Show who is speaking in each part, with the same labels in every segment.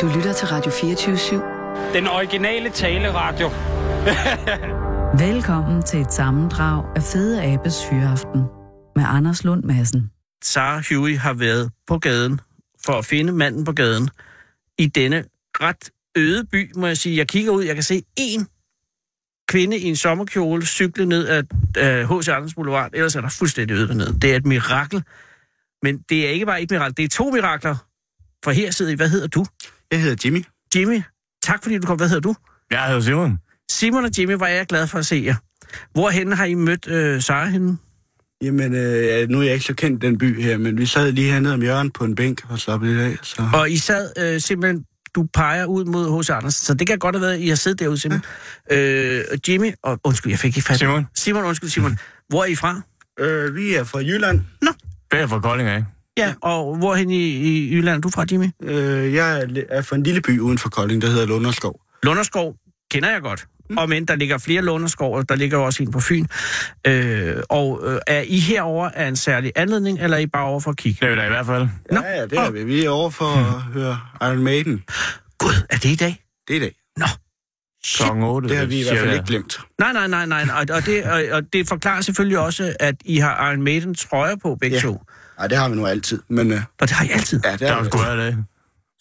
Speaker 1: Du lytter til Radio 24
Speaker 2: Den originale taleradio.
Speaker 1: /7. Velkommen til et sammendrag af Fede Abes Hyreaften med Anders Lund Madsen.
Speaker 3: Sarah Huey har været på gaden for at finde manden på gaden i denne ret øde by, må jeg sige. Jeg kigger ud, jeg kan se én kvinde i en sommerkjole cykle ned ad øh, H.C. Andersen Boulevard. Ellers er der fuldstændig øde dernede. Det er et mirakel. Men det er ikke bare et mirakel, det er to mirakler. For her sidder I. Hvad hedder du?
Speaker 4: Jeg hedder Jimmy.
Speaker 3: Jimmy, tak fordi du kom. Hvad hedder du?
Speaker 4: Jeg hedder Simon.
Speaker 3: Simon og Jimmy, var jeg glad for at se jer. Hvorhen har I mødt øh, Sarah henne?
Speaker 4: Jamen, øh, nu er jeg ikke så kendt den by her, men vi sad lige hernede om hjørnet på en bænk og slappede lidt af. Så.
Speaker 3: Og I sad øh, simpelthen, du peger ud mod H.C. Andersen, så det kan godt have været, at I har siddet derude simpelthen. Øh, og Jimmy, og undskyld, jeg fik ikke fat.
Speaker 5: Simon.
Speaker 3: Simon, undskyld Simon. Hvor er I fra?
Speaker 4: Øh, vi er fra Jylland.
Speaker 5: Det er fra Kolding af.
Speaker 3: Ja, og hvorhen i, i Jylland er du fra, Jimmy?
Speaker 4: Øh, jeg er li- er fra en lille by uden for Kolding, der hedder Lunderskov.
Speaker 3: Lunderskov kender jeg godt. Mm. Og men der ligger flere Lunderskov, og der ligger jo også en på Fyn. Øh, og øh, er I herover af en særlig anledning, eller er I bare over for at kigge?
Speaker 5: Det er vi da i hvert fald.
Speaker 3: Nå.
Speaker 4: Ja, ja, det er vi. Vi er over for at høre Iron Maiden.
Speaker 3: Gud, er det i dag?
Speaker 4: Det er i dag.
Speaker 5: Klokken 8.
Speaker 4: Det har vi i hvert fald ikke glemt.
Speaker 3: Nej, nej, nej, nej. Og, og, det, og, og det forklarer selvfølgelig også, at I har Iron Maiden trøjer på begge
Speaker 4: Ja.
Speaker 3: to.
Speaker 4: Nej, det har vi nu altid, men øh,
Speaker 3: Og det har I altid.
Speaker 4: ja, det
Speaker 5: Der
Speaker 4: er,
Speaker 5: er jo
Speaker 4: vi.
Speaker 5: sgu af det.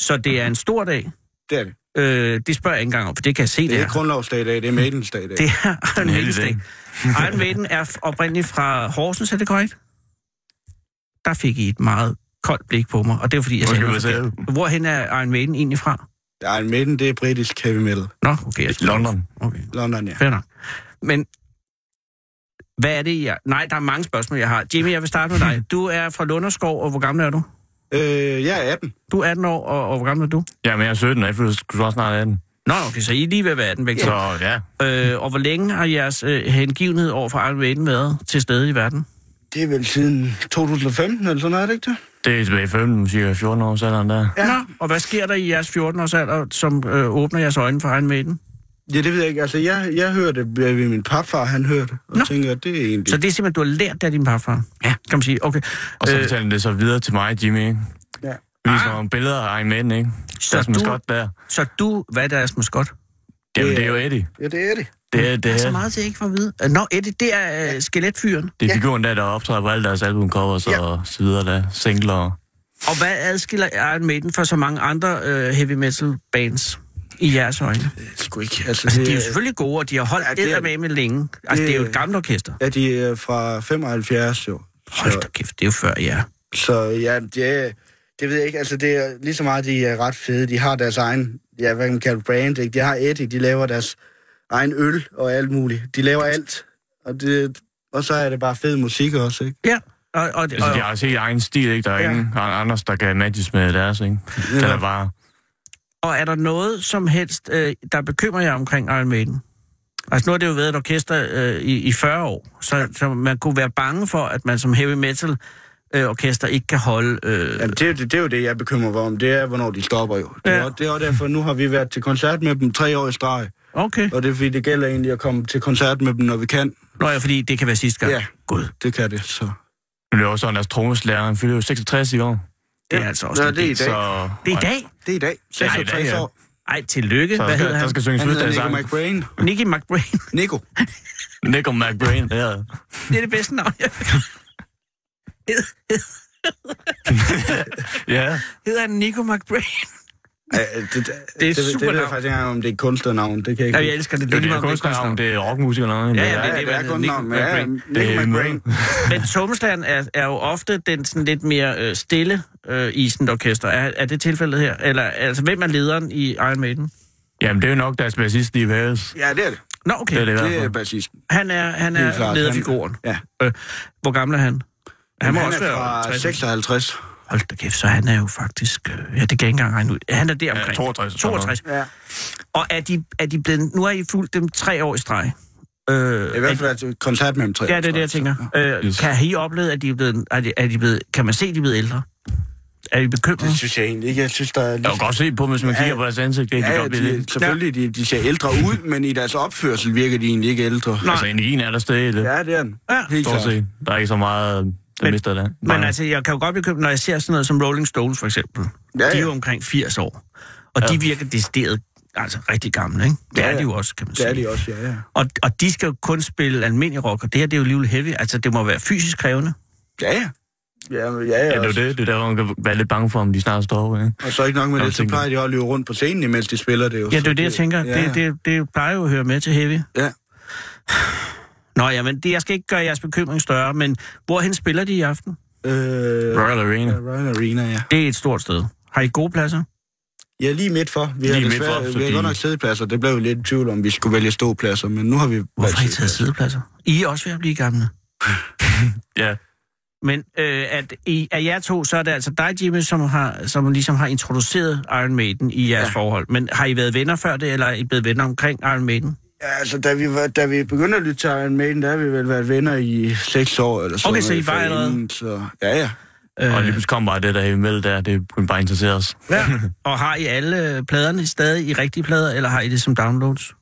Speaker 3: Så det er en stor dag.
Speaker 4: Det er vi.
Speaker 3: Øh, det spørger jeg ikke engang om, for det kan jeg se, det,
Speaker 4: Det er
Speaker 3: er.
Speaker 4: ikke grundlovsdag i dag, det er Maidens dag i dag.
Speaker 3: Det er Iron
Speaker 5: heldig
Speaker 3: Maidens dag. Iron Maiden er f- oprindeligt fra Horsens, er det korrekt? Der fik I et meget koldt blik på mig, og det var fordi, jeg
Speaker 5: Hvor
Speaker 3: sagde
Speaker 5: skal
Speaker 3: noget
Speaker 5: man sige?
Speaker 3: forkert. Hvorhen er Iron Maiden egentlig fra?
Speaker 4: Iron Maiden, det er britisk heavy metal.
Speaker 3: Nå, okay. Jeg skulle-
Speaker 5: London.
Speaker 3: Okay,
Speaker 4: London, ja.
Speaker 3: fair nok. Men hvad er det, jeg... Nej, der er mange spørgsmål, jeg har. Jimmy, jeg vil starte med dig. Du er fra Lunderskov, og hvor gammel er du?
Speaker 4: Øh, jeg er 18.
Speaker 3: Du er 18 år, og, og hvor gammel er du?
Speaker 5: Jamen, jeg er 17, og jeg føler sgu også snart 18.
Speaker 3: Nå, okay, så I er lige ved at være 18 begge to.
Speaker 5: Så ja,
Speaker 3: Øh, og hvor længe har jeres øh, hengivenhed over for Iron Maiden været til stede i verden?
Speaker 4: Det er vel siden 2015 eller sådan noget, er det ikke det?
Speaker 5: det er tilbage i 15, cirka 14 år alderen der.
Speaker 4: Ja.
Speaker 3: Nå, og hvad sker der i jeres 14-års alder, som øh, åbner jeres øjne for Iron Maiden?
Speaker 4: Ja, det ved jeg ikke. Altså, jeg, jeg hørte det ved min papfar, han hørte det, og
Speaker 3: Nå.
Speaker 4: Nå. tænker, at det er egentlig...
Speaker 3: Så det er simpelthen, du har lært det af din parfar? Ja. Kan man sige, okay.
Speaker 5: Og så
Speaker 3: Øh,
Speaker 5: fortalte han det så videre til mig, Jimmy, ikke?
Speaker 4: Ja. Ah.
Speaker 5: Vi viser nogle billeder af Iron Maiden, ikke?
Speaker 3: så,
Speaker 5: Der er som
Speaker 3: du,
Speaker 5: skot der.
Speaker 3: så du, hvad er deres maskot?
Speaker 5: Jamen,
Speaker 4: Det
Speaker 5: det
Speaker 4: er-
Speaker 5: er jo Eddie.
Speaker 4: Ja, det er det.
Speaker 5: Det er, det
Speaker 3: Der er så
Speaker 5: er,
Speaker 3: Altså, meget til, jeg ikke får at vide. Øh, Nå, Eddie, det er øh, skeletfyren.
Speaker 5: det er figuren der, der optræder på alle deres albumcovers
Speaker 4: Ja.
Speaker 5: og så videre der. Singler. og-
Speaker 3: Og hvad adskiller Iron Maiden fra så mange andre øh, heavy metal bands? I jeres øjne.
Speaker 4: Det er sgu ikke. Altså,
Speaker 3: Altså,
Speaker 4: det,
Speaker 3: de er jo selvfølgelig gode, og de har holdt
Speaker 4: Ja, det er-
Speaker 3: ja, med med længe. Altså, det, det er jo et
Speaker 4: det-
Speaker 3: gammelt orkester.
Speaker 4: Ja, de er fra 75, jo.
Speaker 3: Hold da kæft, det er jo før, ja.
Speaker 4: Så ja, det, det ved jeg ikke. Altså, det er lige så meget, de er ret fede. De har deres egen, ja, hvad kan man kalde brand, ikke? De har etik, de laver deres egen øl og alt muligt. De laver alt. Og, det, og så er det bare fed musik også, ikke?
Speaker 3: Ja, og, og,
Speaker 5: Altså,
Speaker 3: og,
Speaker 5: de har også helt egen stil, ikke? Der er
Speaker 4: Ja.
Speaker 5: ingen Anders, der kan matches med deres, ikke? Den er bare...
Speaker 3: Og er der noget som helst, øh, der bekymrer jer omkring Iron Maiden? Altså nu har det jo været et orkester øh, i, i 40 år, så, så man kunne være bange for, at man som heavy metal øh, orkester ikke kan holde... Øh,
Speaker 4: Jamen, det, er jo det, det er jo det, jeg bekymrer mig om. Det er, hvornår de stopper jo. Det er,
Speaker 3: Ja.
Speaker 4: ja. det er også derfor, nu har vi været til koncert med dem tre år i streg.
Speaker 3: okay.
Speaker 4: Og det er fordi, det gælder egentlig at komme til koncert med dem, når vi kan.
Speaker 3: Nå ja, fordi det kan være sidste gang.
Speaker 4: Ja.
Speaker 3: Gud,
Speaker 4: Det kan det, så...
Speaker 5: Men det er jo sådan, at deres trommeslager, han fylder jo 66 i år.
Speaker 3: det er
Speaker 4: Ja.
Speaker 3: altså også...
Speaker 4: Nå,
Speaker 3: en
Speaker 4: det er
Speaker 3: del.
Speaker 4: i dag.
Speaker 5: Så...
Speaker 3: det er i dag?
Speaker 4: Det er i dag.
Speaker 5: er i dag,
Speaker 4: 66
Speaker 5: ja.
Speaker 4: år.
Speaker 3: Ej, tillykke.
Speaker 5: Så
Speaker 3: Hvad
Speaker 5: der skal,
Speaker 3: hedder
Speaker 5: der
Speaker 3: han?
Speaker 5: skal synges
Speaker 4: Han hedder
Speaker 5: fødselsdag
Speaker 4: Nico
Speaker 5: sammen.
Speaker 4: McBrain.
Speaker 3: Nicky McBrain.
Speaker 4: Nico.
Speaker 5: Nico McBrain, ja.
Speaker 3: det er det bedste navn, jeg
Speaker 5: ja.
Speaker 3: Hedder han Nico McBrain?
Speaker 4: Ja, det, det,
Speaker 3: Det er
Speaker 4: det,
Speaker 3: et
Speaker 4: det, det ved
Speaker 3: supernavn.
Speaker 4: jeg faktisk ikke engang, om det er et kunstnernavn. Det kan jeg ikke
Speaker 3: Ja, jeg
Speaker 4: huske.
Speaker 3: elsker det.
Speaker 5: Det er
Speaker 3: lige
Speaker 5: jo
Speaker 3: meget, om det er kunstnernavn.
Speaker 5: kunstnernavn, det er rockmusikernavn. ikke?
Speaker 3: Ja, ja,
Speaker 4: Ja, det,
Speaker 3: hvad
Speaker 4: det
Speaker 3: han hedder,
Speaker 4: er kunstnernavn,
Speaker 3: Nico
Speaker 4: men ja,
Speaker 3: McBrain.
Speaker 5: Det
Speaker 4: Nico
Speaker 5: er
Speaker 4: McBrain.
Speaker 3: Men trommeslageren er, er jo ofte den sådan lidt mere øh, stille øh, i sådan et orkester. Er, er det tilfældet her? Eller altså, hvem er lederen i Iron Maiden?
Speaker 5: Jamen, det er jo nok deres bassist, Steve Harris.
Speaker 4: Ja, det er det.
Speaker 3: Nå,
Speaker 5: Det
Speaker 3: okay.
Speaker 5: er det i hvert
Speaker 4: Det er
Speaker 5: fald.
Speaker 4: bassisten.
Speaker 3: Han er, han
Speaker 4: Helt
Speaker 3: er
Speaker 4: klart.
Speaker 3: lederfiguren.
Speaker 4: Ja.
Speaker 3: Øh, hvor gammel er han? Han må
Speaker 4: Jamen,
Speaker 3: også
Speaker 4: er
Speaker 3: være
Speaker 4: fra
Speaker 3: 60.
Speaker 4: 56.
Speaker 3: Hold da kæft, så han er jo faktisk... Øh, ja, det kan jeg ikke engang regne ud. Han er der
Speaker 5: Ja,
Speaker 3: omkring.
Speaker 5: 62.
Speaker 3: 62.
Speaker 4: Ja.
Speaker 3: Og er de, er de blevet... Nu har I fulgt dem tre år i streg. Øh,
Speaker 4: I hvert fald et koncert med dem tre.
Speaker 3: Ja, det er det, jeg tænker. Øh,
Speaker 5: Yes.
Speaker 3: Kan I opleve, at de er blevet, er de, er de blevet... Kan man se, at de er blevet ældre? Er I bekymret?
Speaker 4: Det synes jeg egentlig ikke. Jeg synes, der er
Speaker 5: Jeg kan godt se på, hvis man
Speaker 4: Ja,
Speaker 5: kigger på deres ansigt. Det kan
Speaker 4: Ja,
Speaker 5: ja,
Speaker 4: ja,
Speaker 5: godt blive
Speaker 4: de,
Speaker 5: lidt.
Speaker 4: selvfølgelig, de, de ser ældre ud, men i deres opførsel virker de egentlig ikke ældre.
Speaker 3: Nej.
Speaker 5: Altså, energien er der stadig i det.
Speaker 4: Ja, det er den.
Speaker 3: Ja.
Speaker 4: Helt
Speaker 5: Stort
Speaker 4: klart.
Speaker 5: set. Der er ikke så meget, der
Speaker 3: Men- altså,
Speaker 5: mister det.
Speaker 3: Men altså, jeg kan jo godt bekymre, når jeg ser sådan noget som Rolling Stones for eksempel. Ja,
Speaker 4: Ja,
Speaker 3: ja. De er
Speaker 4: ja.
Speaker 3: jo omkring 80 år. Og ja.
Speaker 5: Ja.
Speaker 3: de virker decideret altså rigtig gamle, ikke? Det
Speaker 4: Ja,
Speaker 3: er
Speaker 4: ja.
Speaker 3: de jo også, kan man
Speaker 4: Det
Speaker 3: sige.
Speaker 4: er de også, ja, ja.
Speaker 3: Og, og de skal jo kun spille almindelig rock, og det her det er jo alligevel heavy. Altså, det må være fysisk krævende.
Speaker 4: Ja, ja. Ja, men- ja, ja.
Speaker 5: Ja, det er jo det. Det er der, hvor man kan være lidt bange for, om de snart står over. Ikke?
Speaker 4: Og så ikke nok med
Speaker 5: Jeg
Speaker 4: det, så
Speaker 5: tænker-
Speaker 4: plejer de også at løbe rundt på scenen, imens de spiller det jo.
Speaker 3: Ja,
Speaker 4: Så
Speaker 3: det er jo det, jeg tænker.
Speaker 4: Ja,
Speaker 3: Det, det, det plejer jo at høre med til heavy.
Speaker 4: Ja.
Speaker 3: Nå, jamen, det, jeg skal ikke gøre jeres bekymring større, men hvorhen spiller de i aften?
Speaker 4: Øh,
Speaker 5: Royal Arena.
Speaker 4: ja, Royal Arena, ja.
Speaker 3: Det er et stort sted. Har I gode pladser?
Speaker 4: Ja, lige midt for. Vi har,
Speaker 5: Lige midt
Speaker 4: desværre-
Speaker 5: for,
Speaker 4: vi har
Speaker 5: fordi-
Speaker 4: godt nok sædepladser. Det blev jo lidt i tvivl om, vi skulle vælge ståpladser, men nu har vi
Speaker 3: Hvorfor har I
Speaker 4: valgt
Speaker 3: taget sidepladser? I er også ved at blive gamle.
Speaker 5: Ja,
Speaker 3: Men øh, at I, af jer to, så er det altså dig, Jimmy, som, har, som ligesom har introduceret Iron Maiden i jeres ja. forhold. Men har I været venner før det, eller er I blevet venner omkring Iron Maiden?
Speaker 4: Ja, altså, da vi, var, da vi begyndte at lytte til Iron Maiden, der har vi vel været venner i seks år eller sådan
Speaker 3: Okay, så
Speaker 4: noget
Speaker 3: I var
Speaker 4: forinden,
Speaker 3: allerede-
Speaker 4: Så, ja, ja.
Speaker 3: Øh,
Speaker 5: og lige pludselig kom bare det der imellem der. Det kunne bare interessere os.
Speaker 3: ja. Og har I alle pladerne stadig i rigtige plader, eller har I det som downloads?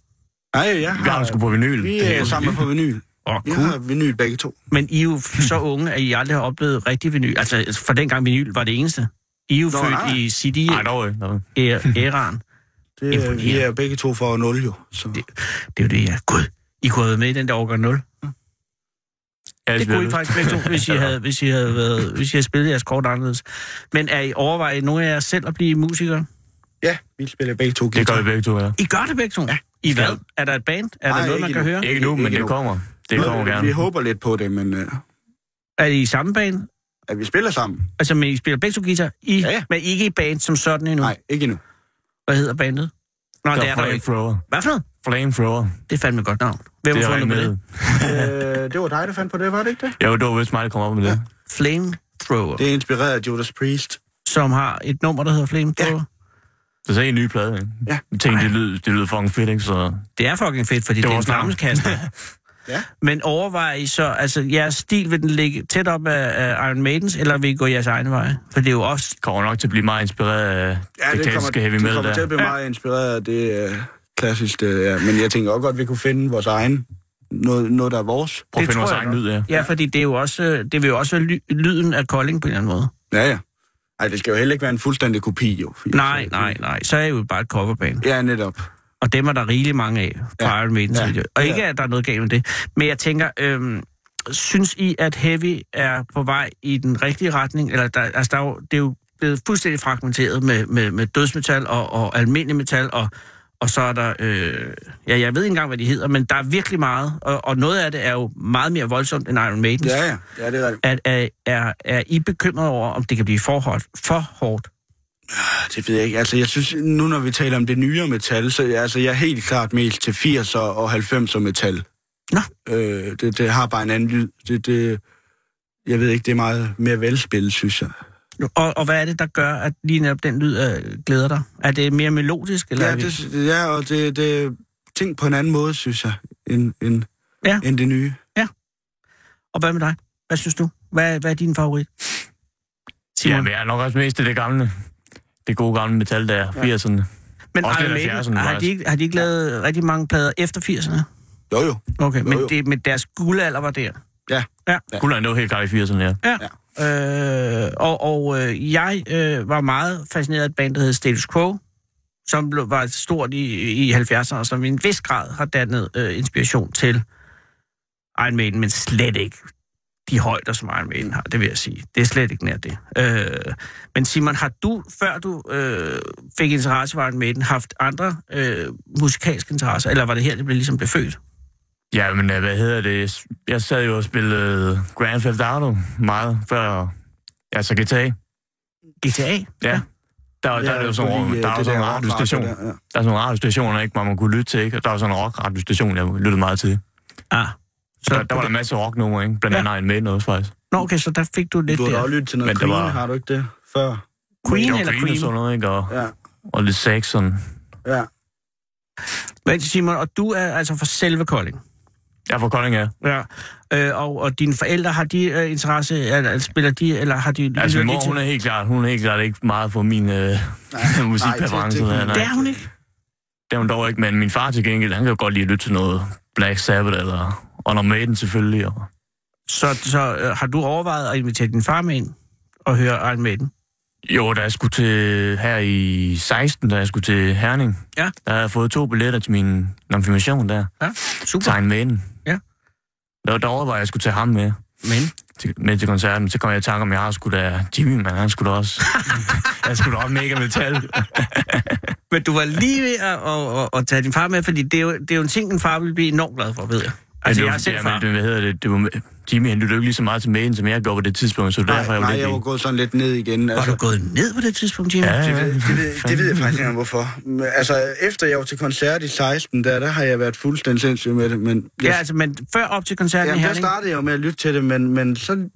Speaker 4: Nej, jeg
Speaker 5: Vi har
Speaker 4: har...
Speaker 5: det sgu på vinyl.
Speaker 4: Vi
Speaker 5: Det er
Speaker 4: er
Speaker 5: jo-
Speaker 4: sammen på vinyl.
Speaker 3: Åh,
Speaker 4: Vi
Speaker 3: cool.
Speaker 4: har vinyl begge to.
Speaker 3: Men I er jo f- så unge, at I aldrig har oplevet rigtig vinyl. Altså, for dengang vinyl var det eneste. I er jo
Speaker 4: Nå,
Speaker 3: født
Speaker 4: nej.
Speaker 3: i
Speaker 5: Ej, dog øh. ikke. Dog.
Speaker 3: CD-æraen.
Speaker 4: Det, er- vi
Speaker 3: Imponerende.
Speaker 4: er begge to for 0 jo. Så.
Speaker 3: Det er jo det, ja. Gud, I kunne have været med i den der årgang 0.
Speaker 5: Ja,
Speaker 3: Det kunne I
Speaker 5: selvfølgelig.
Speaker 3: faktisk begge to, hvis I havde, hvis I havde, været, hvis I havde spillet jeres kort anderledes. Men er I overvejet nogle af jer selv at blive musikere?
Speaker 4: Ja, vi spiller begge to
Speaker 5: Det gør
Speaker 4: guitar.
Speaker 5: vi begge to, ja.
Speaker 3: I gør det begge to? Ja. I hvad? Er der et band? Er der
Speaker 4: Nej,
Speaker 3: noget, man
Speaker 4: ikke
Speaker 3: kan
Speaker 4: endnu.
Speaker 3: høre?
Speaker 5: Ikke nu, men
Speaker 4: Ikke
Speaker 5: det
Speaker 4: nu.
Speaker 5: kommer. Det kommer
Speaker 4: vi,
Speaker 5: gerne.
Speaker 4: vi håber lidt på det, men øh,
Speaker 3: Er I i samme band?
Speaker 4: at vi spiller sammen.
Speaker 3: Altså, men I spiller begge to guitar? I,
Speaker 4: Ja, ja.
Speaker 3: Men ikke i band som sådan endnu?
Speaker 4: Nej, ikke endnu.
Speaker 3: Hvad hedder bandet? Nå,
Speaker 5: Der
Speaker 3: det
Speaker 5: er
Speaker 3: er der jo ikke.
Speaker 5: flamethrower.
Speaker 3: Hvad for noget?
Speaker 5: Flamethrower.
Speaker 3: Det er fandme et godt navn. Hvem
Speaker 5: Det
Speaker 3: har
Speaker 5: er
Speaker 3: fundet
Speaker 5: jeg
Speaker 3: på det?
Speaker 5: med.
Speaker 4: øh, det var dig, der fandt på det, var det ikke det?
Speaker 5: Jo, det var vist mig, der kom op med det.
Speaker 3: Flamethrower,
Speaker 4: Det er inspireret af Judas Priest.
Speaker 3: som har et nummer, der hedder Flamethrower. Ja.
Speaker 5: Det er så en ny plade, ikke?
Speaker 4: Ja.
Speaker 5: Jeg tænkte, det lyder, det lyder fucking fedt, ikke? Så
Speaker 3: Det er fucking fedt, fordi det,
Speaker 5: Det var
Speaker 3: det er en
Speaker 5: vores navn.
Speaker 3: flammeskaster.
Speaker 4: Ja.
Speaker 3: Men overvejer I så, altså jeres stil, vil den ligge tæt op af, af Iron Maidens, eller vil I gå jeres egen vej? For det er jo også...
Speaker 5: kommer nok til at blive meget inspireret af ja, det, det klassiske heavy
Speaker 4: det
Speaker 5: metal
Speaker 4: kommer til
Speaker 5: der.
Speaker 4: at blive meget inspireret af det øh, klassiske, øh, ja. men jeg tænker også godt, at vi kunne finde vores egen, noget, noget der er vores.
Speaker 5: Prøv at
Speaker 3: Det
Speaker 5: finde vores
Speaker 3: tror jeg
Speaker 5: egen
Speaker 3: nok.
Speaker 5: lyd, ja.
Speaker 3: Ja, fordi det er jo også, øh, det vil jo også være ly- lyden af Kolding på en eller anden måde.
Speaker 4: Ja, ja. Ej, det skal jo heller ikke være en fuldstændig kopi, jo. Fordi-
Speaker 3: Nej, nej, nej. Så er jeg jo bare et coverband.
Speaker 4: Ja, netop.
Speaker 3: Og dem er der rigeligt mange af fra ja.
Speaker 4: Ja.
Speaker 3: Iron Maidens ja.
Speaker 4: Ja.
Speaker 3: video. Og ikke,
Speaker 4: Ja.
Speaker 3: at der er noget galt med det. Men jeg tænker, øhm, synes I, at Heavy er på vej i den rigtige retning? Eller der, altså, der er jo, det er jo blevet fuldstændig fragmenteret med, med, med dødsmetal og, og almindelig metal, og, og så er der... Øh, ja, jeg ved ikke engang, hvad de hedder, men der er virkelig meget. Og, og noget af det er jo meget mere voldsomt end Iron Maidens.
Speaker 4: Ja, ja. Ja, det er rigtigt.
Speaker 3: At, er, er, er I bekymret over, om det kan blive for hårdt? For hårdt?
Speaker 4: Ah, Det ved jeg ikke. Altså, jeg synes, nu når vi taler om det nyere metal, så jeg- altså, jeg er helt klart mest til 80'er og 90'er metal.
Speaker 3: Nå.
Speaker 4: Øh, det, det, har bare en anden lyd. Det, det, jeg ved ikke, det er meget mere velspillet, synes jeg.
Speaker 3: Og, og hvad er det, der gør, at lige netop den lyd øh, glæder dig? Er det mere melodisk? Eller er
Speaker 4: Ja,
Speaker 3: vi-
Speaker 4: det, ja og det, det er ting på en anden måde, synes jeg, end, end,
Speaker 3: Ja.
Speaker 4: ja. end det nye.
Speaker 3: Og hvad med dig? Hvad synes du? Hvad, hvad er din favorit?
Speaker 5: Ja,
Speaker 3: Simon.
Speaker 5: men jeg er nok også mest til det gamle. Det gode gamle metal der, 80'erne.
Speaker 3: men
Speaker 5: også
Speaker 3: Iron
Speaker 5: lidt af
Speaker 3: Maiden,
Speaker 5: 70'erne
Speaker 3: har de,
Speaker 5: faktisk.
Speaker 3: ikke, har de ikke lavet rigtig mange plader efter 80'erne?
Speaker 4: Jo, jo.
Speaker 3: Okay, men,
Speaker 4: jo.
Speaker 3: Det, men deres guldalder var der.
Speaker 5: Ja. Kunne noget helt klart i 80'erne, ja.
Speaker 3: Øh, og og øh, jeg øh, var meget fascineret af et band, der hed Status Quo, som blev, var stort i, i 70'erne, og som i en vis grad har dannet øh, inspiration til Iron Maiden, men slet ikke de højder, som Iron Maiden har, det vil jeg sige. Det er slet ikke nær det. Øh, men Simon, har du, før du øh, fik interesse for Iron Maiden, haft andre øh, musikalske interesser, eller var det her, det blev ligesom blev født?
Speaker 5: Ja, men øh, hvad hedder det? Jeg sad jo og spillede Grand Theft Auto meget før... Ja, så GTA. Ja.
Speaker 3: GTA?
Speaker 5: ja. Der, der, er det jo sådan,
Speaker 4: fordi, øh,
Speaker 5: der er jo
Speaker 4: det
Speaker 5: sådan en
Speaker 4: rock-radio
Speaker 5: radiostation. Der,
Speaker 4: der, ja.
Speaker 5: er sådan en radiostation, ikke, hvor man kunne lytte til, ikke? Og der var sådan en rock-radiostation, jeg lyttede meget til.
Speaker 3: Ah.
Speaker 5: Så der, der var der masser af rocknumre, ikke? Blandt
Speaker 3: Ja.
Speaker 5: andet Iron Maiden også, faktisk.
Speaker 3: Nå, okay, så der fik du lidt
Speaker 4: Du har da
Speaker 3: der.
Speaker 4: også lyttet til noget
Speaker 5: Men
Speaker 4: Men
Speaker 5: det
Speaker 4: Queen,
Speaker 5: var-
Speaker 4: var... har du ikke det? Før?
Speaker 5: Der
Speaker 3: Queen
Speaker 5: var
Speaker 3: eller
Speaker 5: Queen og
Speaker 3: Cream?
Speaker 5: sådan noget, ikke? Og,
Speaker 4: Ja,
Speaker 5: og lidt sax, sådan.
Speaker 4: ja.
Speaker 3: Men Simon, og du er altså fra selve Kolding.
Speaker 5: Jeg er fra Kolding, ja.
Speaker 3: Ja. Øh, og, og dine forældre, har de øh, interesse, eller, eller spiller de, eller har de...
Speaker 5: Altså,
Speaker 3: lytter de
Speaker 5: min mor,
Speaker 3: til-
Speaker 5: hun er helt klart, hun er helt klart ikke meget for min øh, musikpræference.
Speaker 4: det- det-
Speaker 5: der, nej.
Speaker 3: Det er hun ikke.
Speaker 5: Det er hun dog ikke, men min far til gengæld, han kan jo godt lide at lytte til noget Black Sabbath eller Under Maiden selvfølgelig. Og...
Speaker 3: Så, så øh, har du overvejet at invitere din far med ind og høre Iron Maiden?
Speaker 5: Jo, da jeg skulle til her i 16, da jeg skulle til Herning,
Speaker 3: Ja.
Speaker 5: der havde jeg fået to billetter til min konfirmation der.
Speaker 3: Ja, super.
Speaker 5: Tegn Vænen.
Speaker 3: Ja.
Speaker 5: Der var derovre, hvor jeg skulle tage ham med
Speaker 3: Men
Speaker 5: til, med til koncerten. Så kom jeg i tanke om, jeg har sgu da Jimmy, man, han skulle da også. han skulle da også mega
Speaker 3: Altså,
Speaker 5: metal.
Speaker 3: Men du var lige ved at, at, at, at tage din far med, fordi det er, jo, det er jo en ting, en far vil blive enormt glad for, ved jeg. Altså,
Speaker 5: det
Speaker 3: jeg
Speaker 5: var,
Speaker 3: er selv
Speaker 5: jamen,
Speaker 3: far.
Speaker 5: det, hvad hedder det? det var, Jimmy, han lyttede jo ikke lige så meget til mailen, som jeg gjorde på det tidspunkt, så
Speaker 4: Nej,
Speaker 5: derfor er jeg jo
Speaker 4: nej,
Speaker 5: lidt...
Speaker 4: jeg var gået sådan lidt ned igen.
Speaker 3: Var
Speaker 4: Altså,
Speaker 3: du gået ned på det tidspunkt, Jimmy?
Speaker 5: ja,
Speaker 4: det,
Speaker 5: ja,
Speaker 4: ved, det, ved, det
Speaker 5: fandme.
Speaker 4: ved jeg faktisk ikke engang, hvorfor. Men, Altså, efter jeg var til koncert i 16, der, der har jeg været fuldstændig sindssyg med det, men... Jeg,
Speaker 3: Ja, altså, men før op til koncerten i
Speaker 4: Jamen, der
Speaker 3: Herning?
Speaker 4: startede jeg jo med at lytte til det, men, men så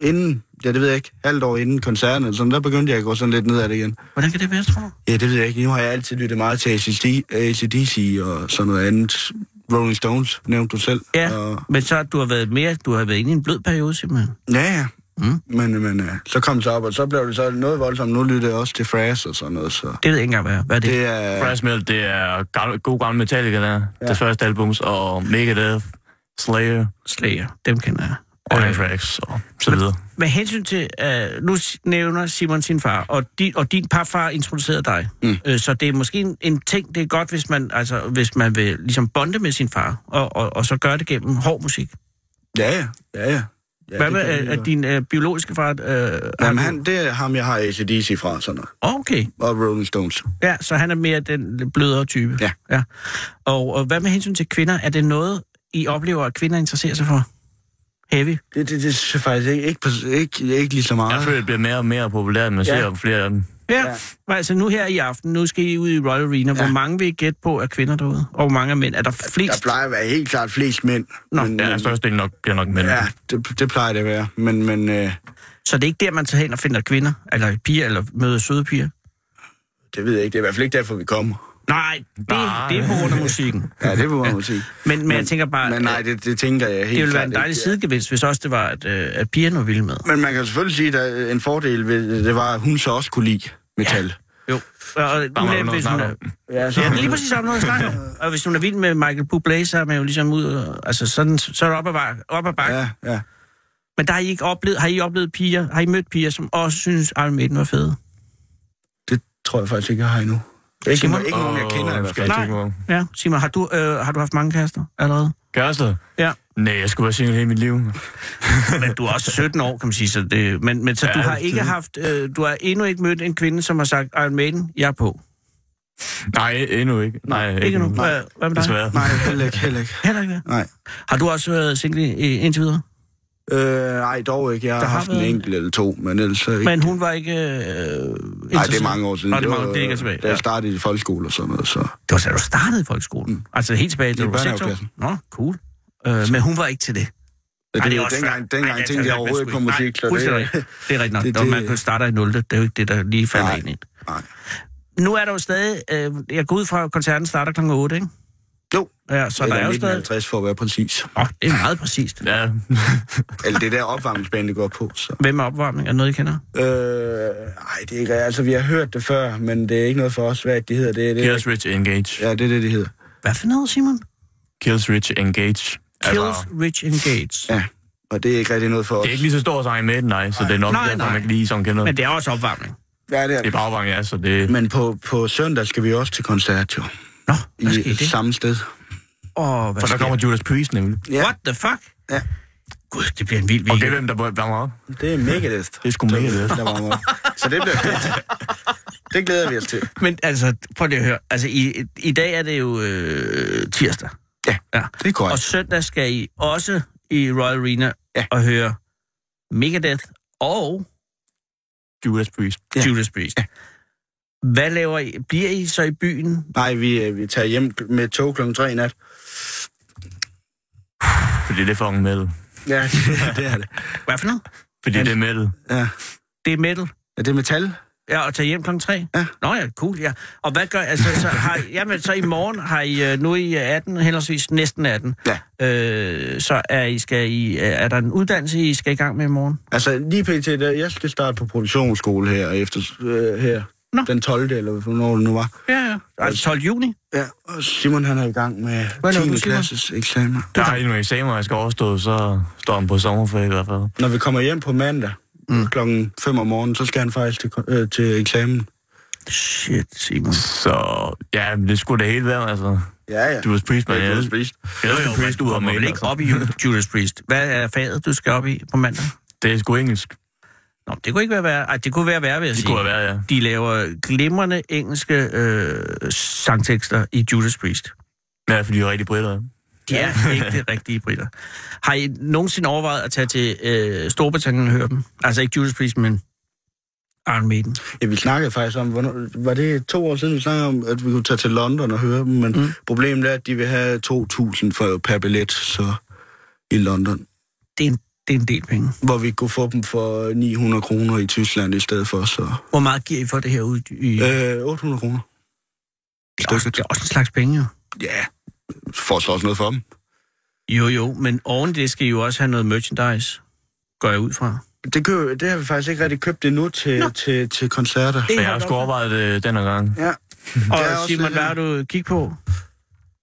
Speaker 4: inden, ja, det ved jeg ikke, halvt år inden koncerten, eller sådan, der begyndte jeg at gå sådan lidt ned ad det igen.
Speaker 3: Hvordan kan det være, tror du?
Speaker 4: Ja, det ved jeg ikke. Nu har jeg altid lyttet meget til ACD, ACDC og sådan noget andet. Rolling Stones, nævnte du selv.
Speaker 3: Ja,
Speaker 4: Og,
Speaker 3: men så du har været mere, du har været inde i en blød periode, simpelthen.
Speaker 4: ja, ja.
Speaker 3: Mm.
Speaker 4: Men, men ja, så kom det så op, og så blev det så noget voldsomt. Nu lytter jeg også til Frass og sådan noget, så...
Speaker 3: Det ved jeg ikke engang, hvad, hvad er det er.
Speaker 4: Det er...
Speaker 5: Fresh Metal, det er gammel, god gammel Metallica, der. Ja. Deres første albums, og Megadeth, Slayer,
Speaker 3: Slager, dem kender jeg.
Speaker 5: og Anthrax, og så videre.
Speaker 3: Med hensyn til, øh, nu s- nævner Simon sin far, og din, og din parfar introducerede dig. Mm. Øh, så det er måske en, en ting, det er godt, hvis man, altså, hvis man vil ligesom bonde med sin far, og, og, og så gøre det gennem hård musik.
Speaker 4: Ja, ja, ja, ja. ja
Speaker 3: Hvad
Speaker 4: det
Speaker 3: med
Speaker 4: kan jeg
Speaker 3: at-
Speaker 4: godt.
Speaker 3: at din øh, biologiske far... Øh,
Speaker 4: Jamen, han, det er ham, jeg har ACDC fra, og sådan noget.
Speaker 3: Okay,
Speaker 4: Og Rolling Stones.
Speaker 3: ja, så han er mere den lidt blødere type.
Speaker 4: Ja.
Speaker 3: ja. Og, og hvad med hensyn til kvinder? Er det noget, I oplever, at kvinder interesserer sig for? Heavy?
Speaker 4: Det, det, det synes jeg faktisk ikke, ikke, på- ikke, ikke lige så
Speaker 5: Jeg
Speaker 4: meget.
Speaker 5: føler, det bliver mere og mere populært, man ser flere af dem.
Speaker 3: Ja. ja. Altså nu her i aften, nu skal I ud i Royal Arena. Hvor mange vil I gætte på er kvinder derude? Og hvor mange er mænd? Er der
Speaker 4: Der
Speaker 3: flest?
Speaker 4: plejer at være helt klart flest mænd.
Speaker 3: Nå,
Speaker 4: men,
Speaker 5: Ja,
Speaker 4: men-
Speaker 5: størstedelen nok, bliver nok mænd.
Speaker 4: ja det, det plejer det at være. Men, men øh,
Speaker 3: Så det er ikke der, man tager hen og finder kvinder, eller piger, eller møder søde piger?
Speaker 4: det ved jeg ikke. Det er i hvert fald ikke derfor, vi kommer.
Speaker 3: Nej, det,
Speaker 5: Nej.
Speaker 3: det er på grund af musikken.
Speaker 4: Ja, det må man jo sige.
Speaker 3: Men, men, jeg tænker bare, øh,
Speaker 4: Men nej,
Speaker 3: det,
Speaker 4: det, øh, det tænker jeg helt
Speaker 3: det ville være
Speaker 4: klart
Speaker 3: en dejlig
Speaker 4: ikke.
Speaker 3: sidegevinst, hvis også det var, at, øh, at pigerne var vilde med.
Speaker 4: Men man kan selvfølgelig sige, at der er en fordel ved det var, at hun så også kunne lide metal.
Speaker 3: Jo. Og, og,
Speaker 5: var
Speaker 3: hvis
Speaker 5: jo noget at
Speaker 3: hun
Speaker 5: snakke
Speaker 3: er,
Speaker 5: om.
Speaker 4: Ja,
Speaker 3: ja, lige præcis om noget at snakke om. Og hvis hun er vild med Michael Bublé, så er man jo ligesom ud... og- Altså, sådan, så er det op ad, bak- op ad bakke. Ja.
Speaker 4: Ja, ja.
Speaker 3: Men der har I ikke oplevet... Har I oplevet piger? Har I mødt piger, som også synes, Iron Maiden var fede?
Speaker 4: Det tror jeg faktisk ikke, jeg har endnu. Ikke,
Speaker 3: Simon?
Speaker 4: ikke nogen, jeg kender i hvert fald.
Speaker 3: Nej. Ja, sig mig, har du, øh, har du haft mange kærester allerede?
Speaker 5: Kærester?
Speaker 3: Ja.
Speaker 5: Nej, jeg skulle være single hele mit liv.
Speaker 3: Men du er også 17 år, kan man sige. Så det, men, men så ja,
Speaker 5: Ja,
Speaker 3: du har
Speaker 5: det-
Speaker 3: ikke haft, øh, du har endnu ikke mødt en kvinde, som har sagt, Iron Maiden, jeg er på.
Speaker 5: Nej, endnu ikke. Nej,
Speaker 3: Ikke, endnu. Hvad, hvad med dig?
Speaker 5: Desværre.
Speaker 4: Nej, heller ikke, heller ikke.
Speaker 3: Heller ikke. hvad?
Speaker 4: Nej.
Speaker 3: Har du også været single i- indtil videre?
Speaker 4: Øh, nej, dog ikke. Jeg har,
Speaker 3: Der har
Speaker 4: haft en
Speaker 3: været-
Speaker 4: enkelt eller to, men ellers så ikke.
Speaker 3: Men hun var ikke øh, interesseret?
Speaker 4: Nej, det er mange år siden.
Speaker 3: Nå, det, er mange,
Speaker 4: var,
Speaker 3: det er ikke tilbage.
Speaker 4: Da
Speaker 3: Ja.
Speaker 4: jeg startede i folkeskole og sådan noget, så...
Speaker 3: Det var så, du startede i folkeskolen. Mm. Altså helt tilbage til
Speaker 4: I
Speaker 3: du var seks år.
Speaker 4: børnehaveklassen.
Speaker 3: Nå, cool. Øh, men hun var ikke til det.
Speaker 4: Ja,
Speaker 3: Ej,
Speaker 4: det,
Speaker 3: er
Speaker 4: var
Speaker 3: også fair.
Speaker 4: dengang, dengang
Speaker 3: Ej, det er
Speaker 4: tænkte jeg
Speaker 3: altså-
Speaker 4: overhovedet ikke på musik, så
Speaker 3: Nej,
Speaker 4: det,
Speaker 3: fuldstændig rigtigt. det er rigtigt nok.
Speaker 4: det-
Speaker 3: Det, det, man
Speaker 4: det-
Speaker 3: kan starte i 0. Det er jo ikke det, der lige falder
Speaker 4: Nej.
Speaker 3: ind i.
Speaker 4: Nej.
Speaker 3: Nu er der jo stadig... Øh, jeg går ud fra, at koncerten starter kl. 8, ikke?
Speaker 4: Jo.
Speaker 3: Ja, så
Speaker 4: eller
Speaker 3: der er jo
Speaker 4: 1950
Speaker 3: stadig...
Speaker 4: stadig... for at være præcis.
Speaker 3: Åh, oh, det er meget præcist.
Speaker 5: Ja,
Speaker 4: Eller det der opvarmningsbane, det går på. Så.
Speaker 3: Hvem er opvarmning? Er det noget, I kender?
Speaker 4: Øh, ej, det er ikke... Altså, vi har hørt det før, men det er ikke noget for os, hvad de hedder. Det, er det,
Speaker 5: Kills Rich Engage.
Speaker 4: Ja, det er det, de hedder.
Speaker 3: Hvad for noget, Simon?
Speaker 4: Altså-
Speaker 5: Kills Rich Engage. Altså,
Speaker 3: Kills, Rich Engage.
Speaker 4: Ja, og det er ikke rigtig noget for os.
Speaker 5: Det er ikke lige så stort som Iron Maiden, nej, så det er nok
Speaker 3: Nej,
Speaker 5: nej, derfor,
Speaker 3: nej.
Speaker 5: man ikke lige sådan kender
Speaker 3: Men
Speaker 5: det.
Speaker 3: det er også opvarmning.
Speaker 4: Ja, det er
Speaker 5: Det er
Speaker 4: det.
Speaker 5: bagvang, ja, så det...
Speaker 4: Men på, på søndag skal vi også til koncert, jo.
Speaker 3: Nå, hvad sker
Speaker 4: I
Speaker 3: det?
Speaker 4: samme sted.
Speaker 3: Åh, hvad
Speaker 5: For der
Speaker 3: sker
Speaker 5: kommer Judas Priest nemlig.
Speaker 4: Ja.
Speaker 3: What the fuck?
Speaker 4: Ja.
Speaker 3: Gud, det bliver en vild
Speaker 5: Og
Speaker 3: weekend.
Speaker 5: det er hvem, der varmer op.
Speaker 4: Det er Megadeth.
Speaker 5: Det er sgu Megadeth.
Speaker 4: Der varmer op. Så det bliver fedt. Det glæder vi os til.
Speaker 3: Men altså, prøv lige at høre. Altså, i, i dag er det jo øh, tirsdag.
Speaker 4: Ja,
Speaker 3: ja.
Speaker 4: Det er
Speaker 3: Og
Speaker 4: korrekt.
Speaker 3: søndag skal I også i Royal Arena
Speaker 4: Ja.
Speaker 3: og høre Megadeth og
Speaker 5: Judas Priest.
Speaker 3: ja. Judas Priest. Ja. Hvad laver I? Bliver I så i byen?
Speaker 4: Nej, vi, øh, vi tager hjem med tog kl. 3 i nat.
Speaker 5: Fordi det er fucking metal.
Speaker 4: Ja, det, det er det.
Speaker 3: Hvad for noget?
Speaker 5: Fordi det er metal.
Speaker 4: Ja.
Speaker 3: Det er metal.
Speaker 4: Er det metal?
Speaker 3: Ja, og tage hjem klokken 3?
Speaker 4: Ja.
Speaker 3: Nå ja, cool, ja. Og hvad gør, altså, så har, I- jamen, så i morgen har I, øh, nu er I 18, henholdsvis næsten 18.
Speaker 4: Ja.
Speaker 3: Øh, så er, I, skal I, øh, er der en uddannelse, I skal i gang med i morgen?
Speaker 4: Altså, lige pt. Der, jeg skal starte på produktionsskole her, efter, øh, her.
Speaker 3: Nå.
Speaker 4: den 12. eller hvornår det nu var.
Speaker 3: Ja, ja. Altså 12. juni?
Speaker 4: Ja, og Simon han er i gang med
Speaker 3: Hvad laver du,
Speaker 4: 10.
Speaker 3: Simon?
Speaker 4: klasses eksamener.
Speaker 5: Der er endnu eksamen, jeg skal overstå, så står han på sommerferie i hvert fald.
Speaker 4: Når vi kommer hjem på mandag, mm. klokken 5 om morgenen, så skal han faktisk til, ko- øh, til eksamen.
Speaker 3: Shit, Simon.
Speaker 5: Så ja, det skulle det hele være, altså.
Speaker 4: Ja, ja.
Speaker 5: Du var priest, man.
Speaker 4: Det er
Speaker 5: Jeg
Speaker 4: Judas Priest.
Speaker 5: jeg elsker Priest, du har
Speaker 3: kommer
Speaker 5: med.
Speaker 3: vel ikke op i Judas Priest. Hvad er faget, du skal op i på mandag?
Speaker 5: Det er sgu engelsk.
Speaker 3: Nå, det kunne ikke være værre. Ej, det kunne være værre, vil jeg
Speaker 5: Det
Speaker 3: sige.
Speaker 5: kunne have været, ja.
Speaker 3: De laver glimrende engelske øh, sangtekster i Judas Priest.
Speaker 5: Ja, fordi de er rigtig britter. ja.
Speaker 3: De er ikke det rigtige britter. Har I nogensinde overvejet at tage til øh, Storbritannien og høre dem? Altså ikke Judas Priest, men Iron Maiden.
Speaker 4: Ja, vi snakkede faktisk om, hvornår, var det to år siden, vi snakkede om, at vi kunne tage til London og høre dem, men mm. problemet er, at de vil have 2.000 for, per billet så, i London,
Speaker 3: Det er en, det er en del penge.
Speaker 4: hvor vi kunne få dem for 900 kroner i Tyskland i stedet for, så
Speaker 3: Hvor meget giver I for det her ud i... Øh,
Speaker 4: øh, 800 kroner.
Speaker 3: det, er også, det er også en slags penge, jo.
Speaker 4: Ja, får så også noget for dem.
Speaker 3: Jo, jo, men oven i det skal I jo også have noget merchandise, går jeg ud fra.
Speaker 4: Det, kø, det har vi faktisk ikke rigtig købt endnu til, til, til, til koncerter.
Speaker 5: Men jeg har sgu overvejet det den her gang.
Speaker 4: Ja.
Speaker 3: Og
Speaker 4: Det er også
Speaker 3: Simon,
Speaker 4: lidt-
Speaker 3: hvad har du kig på?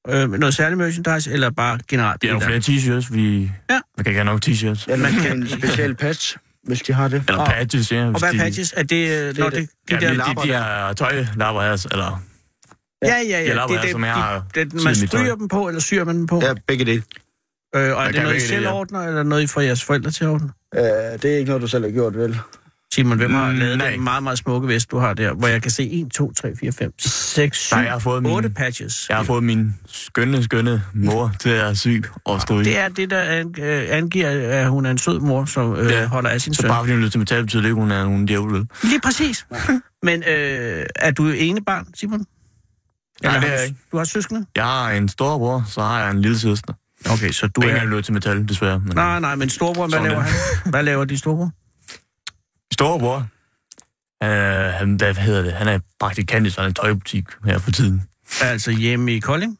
Speaker 3: Øh, noget særligt merchandise, eller bare generelt?
Speaker 5: Det er nogle flere t-shirts, fordi
Speaker 3: Ja.
Speaker 5: man kan ikke have nok t-shirts.
Speaker 4: Ja, man kan en speciel patch, hvis de har det.
Speaker 5: Eller
Speaker 3: Og-
Speaker 5: patches, ja.
Speaker 3: Og
Speaker 5: hvis
Speaker 3: hvad er
Speaker 5: de-
Speaker 3: patches? Er det... Øh, når
Speaker 4: det.
Speaker 3: det,
Speaker 5: Ja,
Speaker 3: de der,
Speaker 5: de, de, de her tøjlapper her, altså. eller...
Speaker 3: ja, ja, ja.
Speaker 5: de lapper,
Speaker 3: det er
Speaker 5: som jeg har
Speaker 3: det, det, man
Speaker 5: siden i tøj.
Speaker 3: stryger dem på, eller syr man dem på?
Speaker 4: Ja, begge dele.
Speaker 3: Øh, og er
Speaker 5: Man
Speaker 3: det
Speaker 5: kan
Speaker 3: noget, I
Speaker 5: vælge det,
Speaker 3: selv
Speaker 5: ja.
Speaker 3: ordner, eller noget, I får jeres forældre til at ordne?
Speaker 4: Øh, det er ikke noget, du selv har gjort, vel?
Speaker 3: Simon, hvem har
Speaker 5: Mm,
Speaker 3: lavet
Speaker 5: nej.
Speaker 3: den meget, meget smukke vest, du har der, hvor jeg kan se 1, 2, 3, 4, 5, 6, 7,
Speaker 5: Nej, jeg har fået min-
Speaker 3: 8 patches.
Speaker 5: Jeg har fået min skønne, skønne mor til at sy og stryge.
Speaker 3: Det er det, der an, øh, angiver, at hun er en sød mor, som øh,
Speaker 5: Ja.
Speaker 3: holder af sin
Speaker 5: Så
Speaker 3: søn.
Speaker 5: bare fordi hun lyder til metal, betyder det ikke, hun er nogen djævel.
Speaker 3: Lige præcis. Men øh, er du ene barn, Simon?
Speaker 5: Ja,
Speaker 3: Eller
Speaker 5: det er
Speaker 3: har du-
Speaker 5: jeg ikke.
Speaker 3: Du har søskende?
Speaker 5: Jeg har en storbror, så har jeg en lille søster.
Speaker 3: Okay, så du
Speaker 5: Du er ikke
Speaker 3: er...
Speaker 5: engang lyder til metal, desværre. Men...
Speaker 3: Nej, nej, men storebror, hvad
Speaker 5: Sådan
Speaker 3: laver
Speaker 5: er
Speaker 3: han? Hvad laver din storebror?
Speaker 5: Storbror, øh, han, hvad hedder det? Han er praktikant i sådan en tøjbutik her for tiden.
Speaker 3: Altså hjemme i Kolding?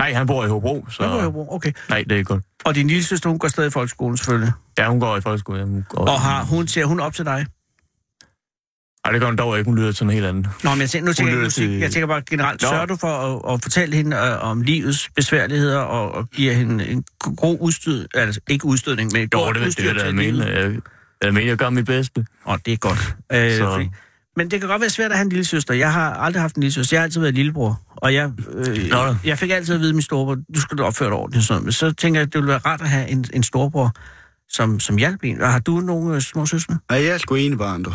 Speaker 5: Nej, han bor i Hobro, så...
Speaker 3: Nå, hvor er jeg bror. Okay.
Speaker 5: Nej, det er ikke godt.
Speaker 3: Og din lille søster, hun går stadig i folkeskolen selvfølgelig.
Speaker 5: Ja, hun går i folkeskole. Ja, hun går...
Speaker 3: Og har hun, ser hun op til dig?
Speaker 5: Ej, det gør hun dog ikke. Hun lyder til noget helt andet.
Speaker 3: Nå, men jeg tænker, nu tænker jeg ikke
Speaker 5: lytter til-
Speaker 3: musik. Jeg tænker bare generelt,
Speaker 5: Nå.
Speaker 3: sørger du for at, at fortælle hende øh, om livets besværligheder, og, og giver hende en god udstød, altså ikke udstødning, men et
Speaker 5: Jo,
Speaker 3: godt
Speaker 5: det, det,
Speaker 3: udstyr
Speaker 5: det, det,
Speaker 3: til
Speaker 5: jeg
Speaker 3: livet?
Speaker 5: mener. Jeg, jeg mener, jeg gør mit bedste.
Speaker 3: Åh, det er godt. Øh,
Speaker 5: Så-
Speaker 3: fordi, men det kan godt være svært at have en lille søster. Jeg har aldrig haft en lille søster. Jeg har altid været lillebror. Og jeg, øh,
Speaker 5: Nå da.
Speaker 3: jeg fik altid at vide af min storebror, du skal da opføre dig ordentligt. og Sådan. noget. Men så tænker jeg, at det ville være rart at have en, en storebror, som, som hjalp en. Og har du nogle øh, små søstre?
Speaker 4: Nej, jeg er sgu ene barn, du.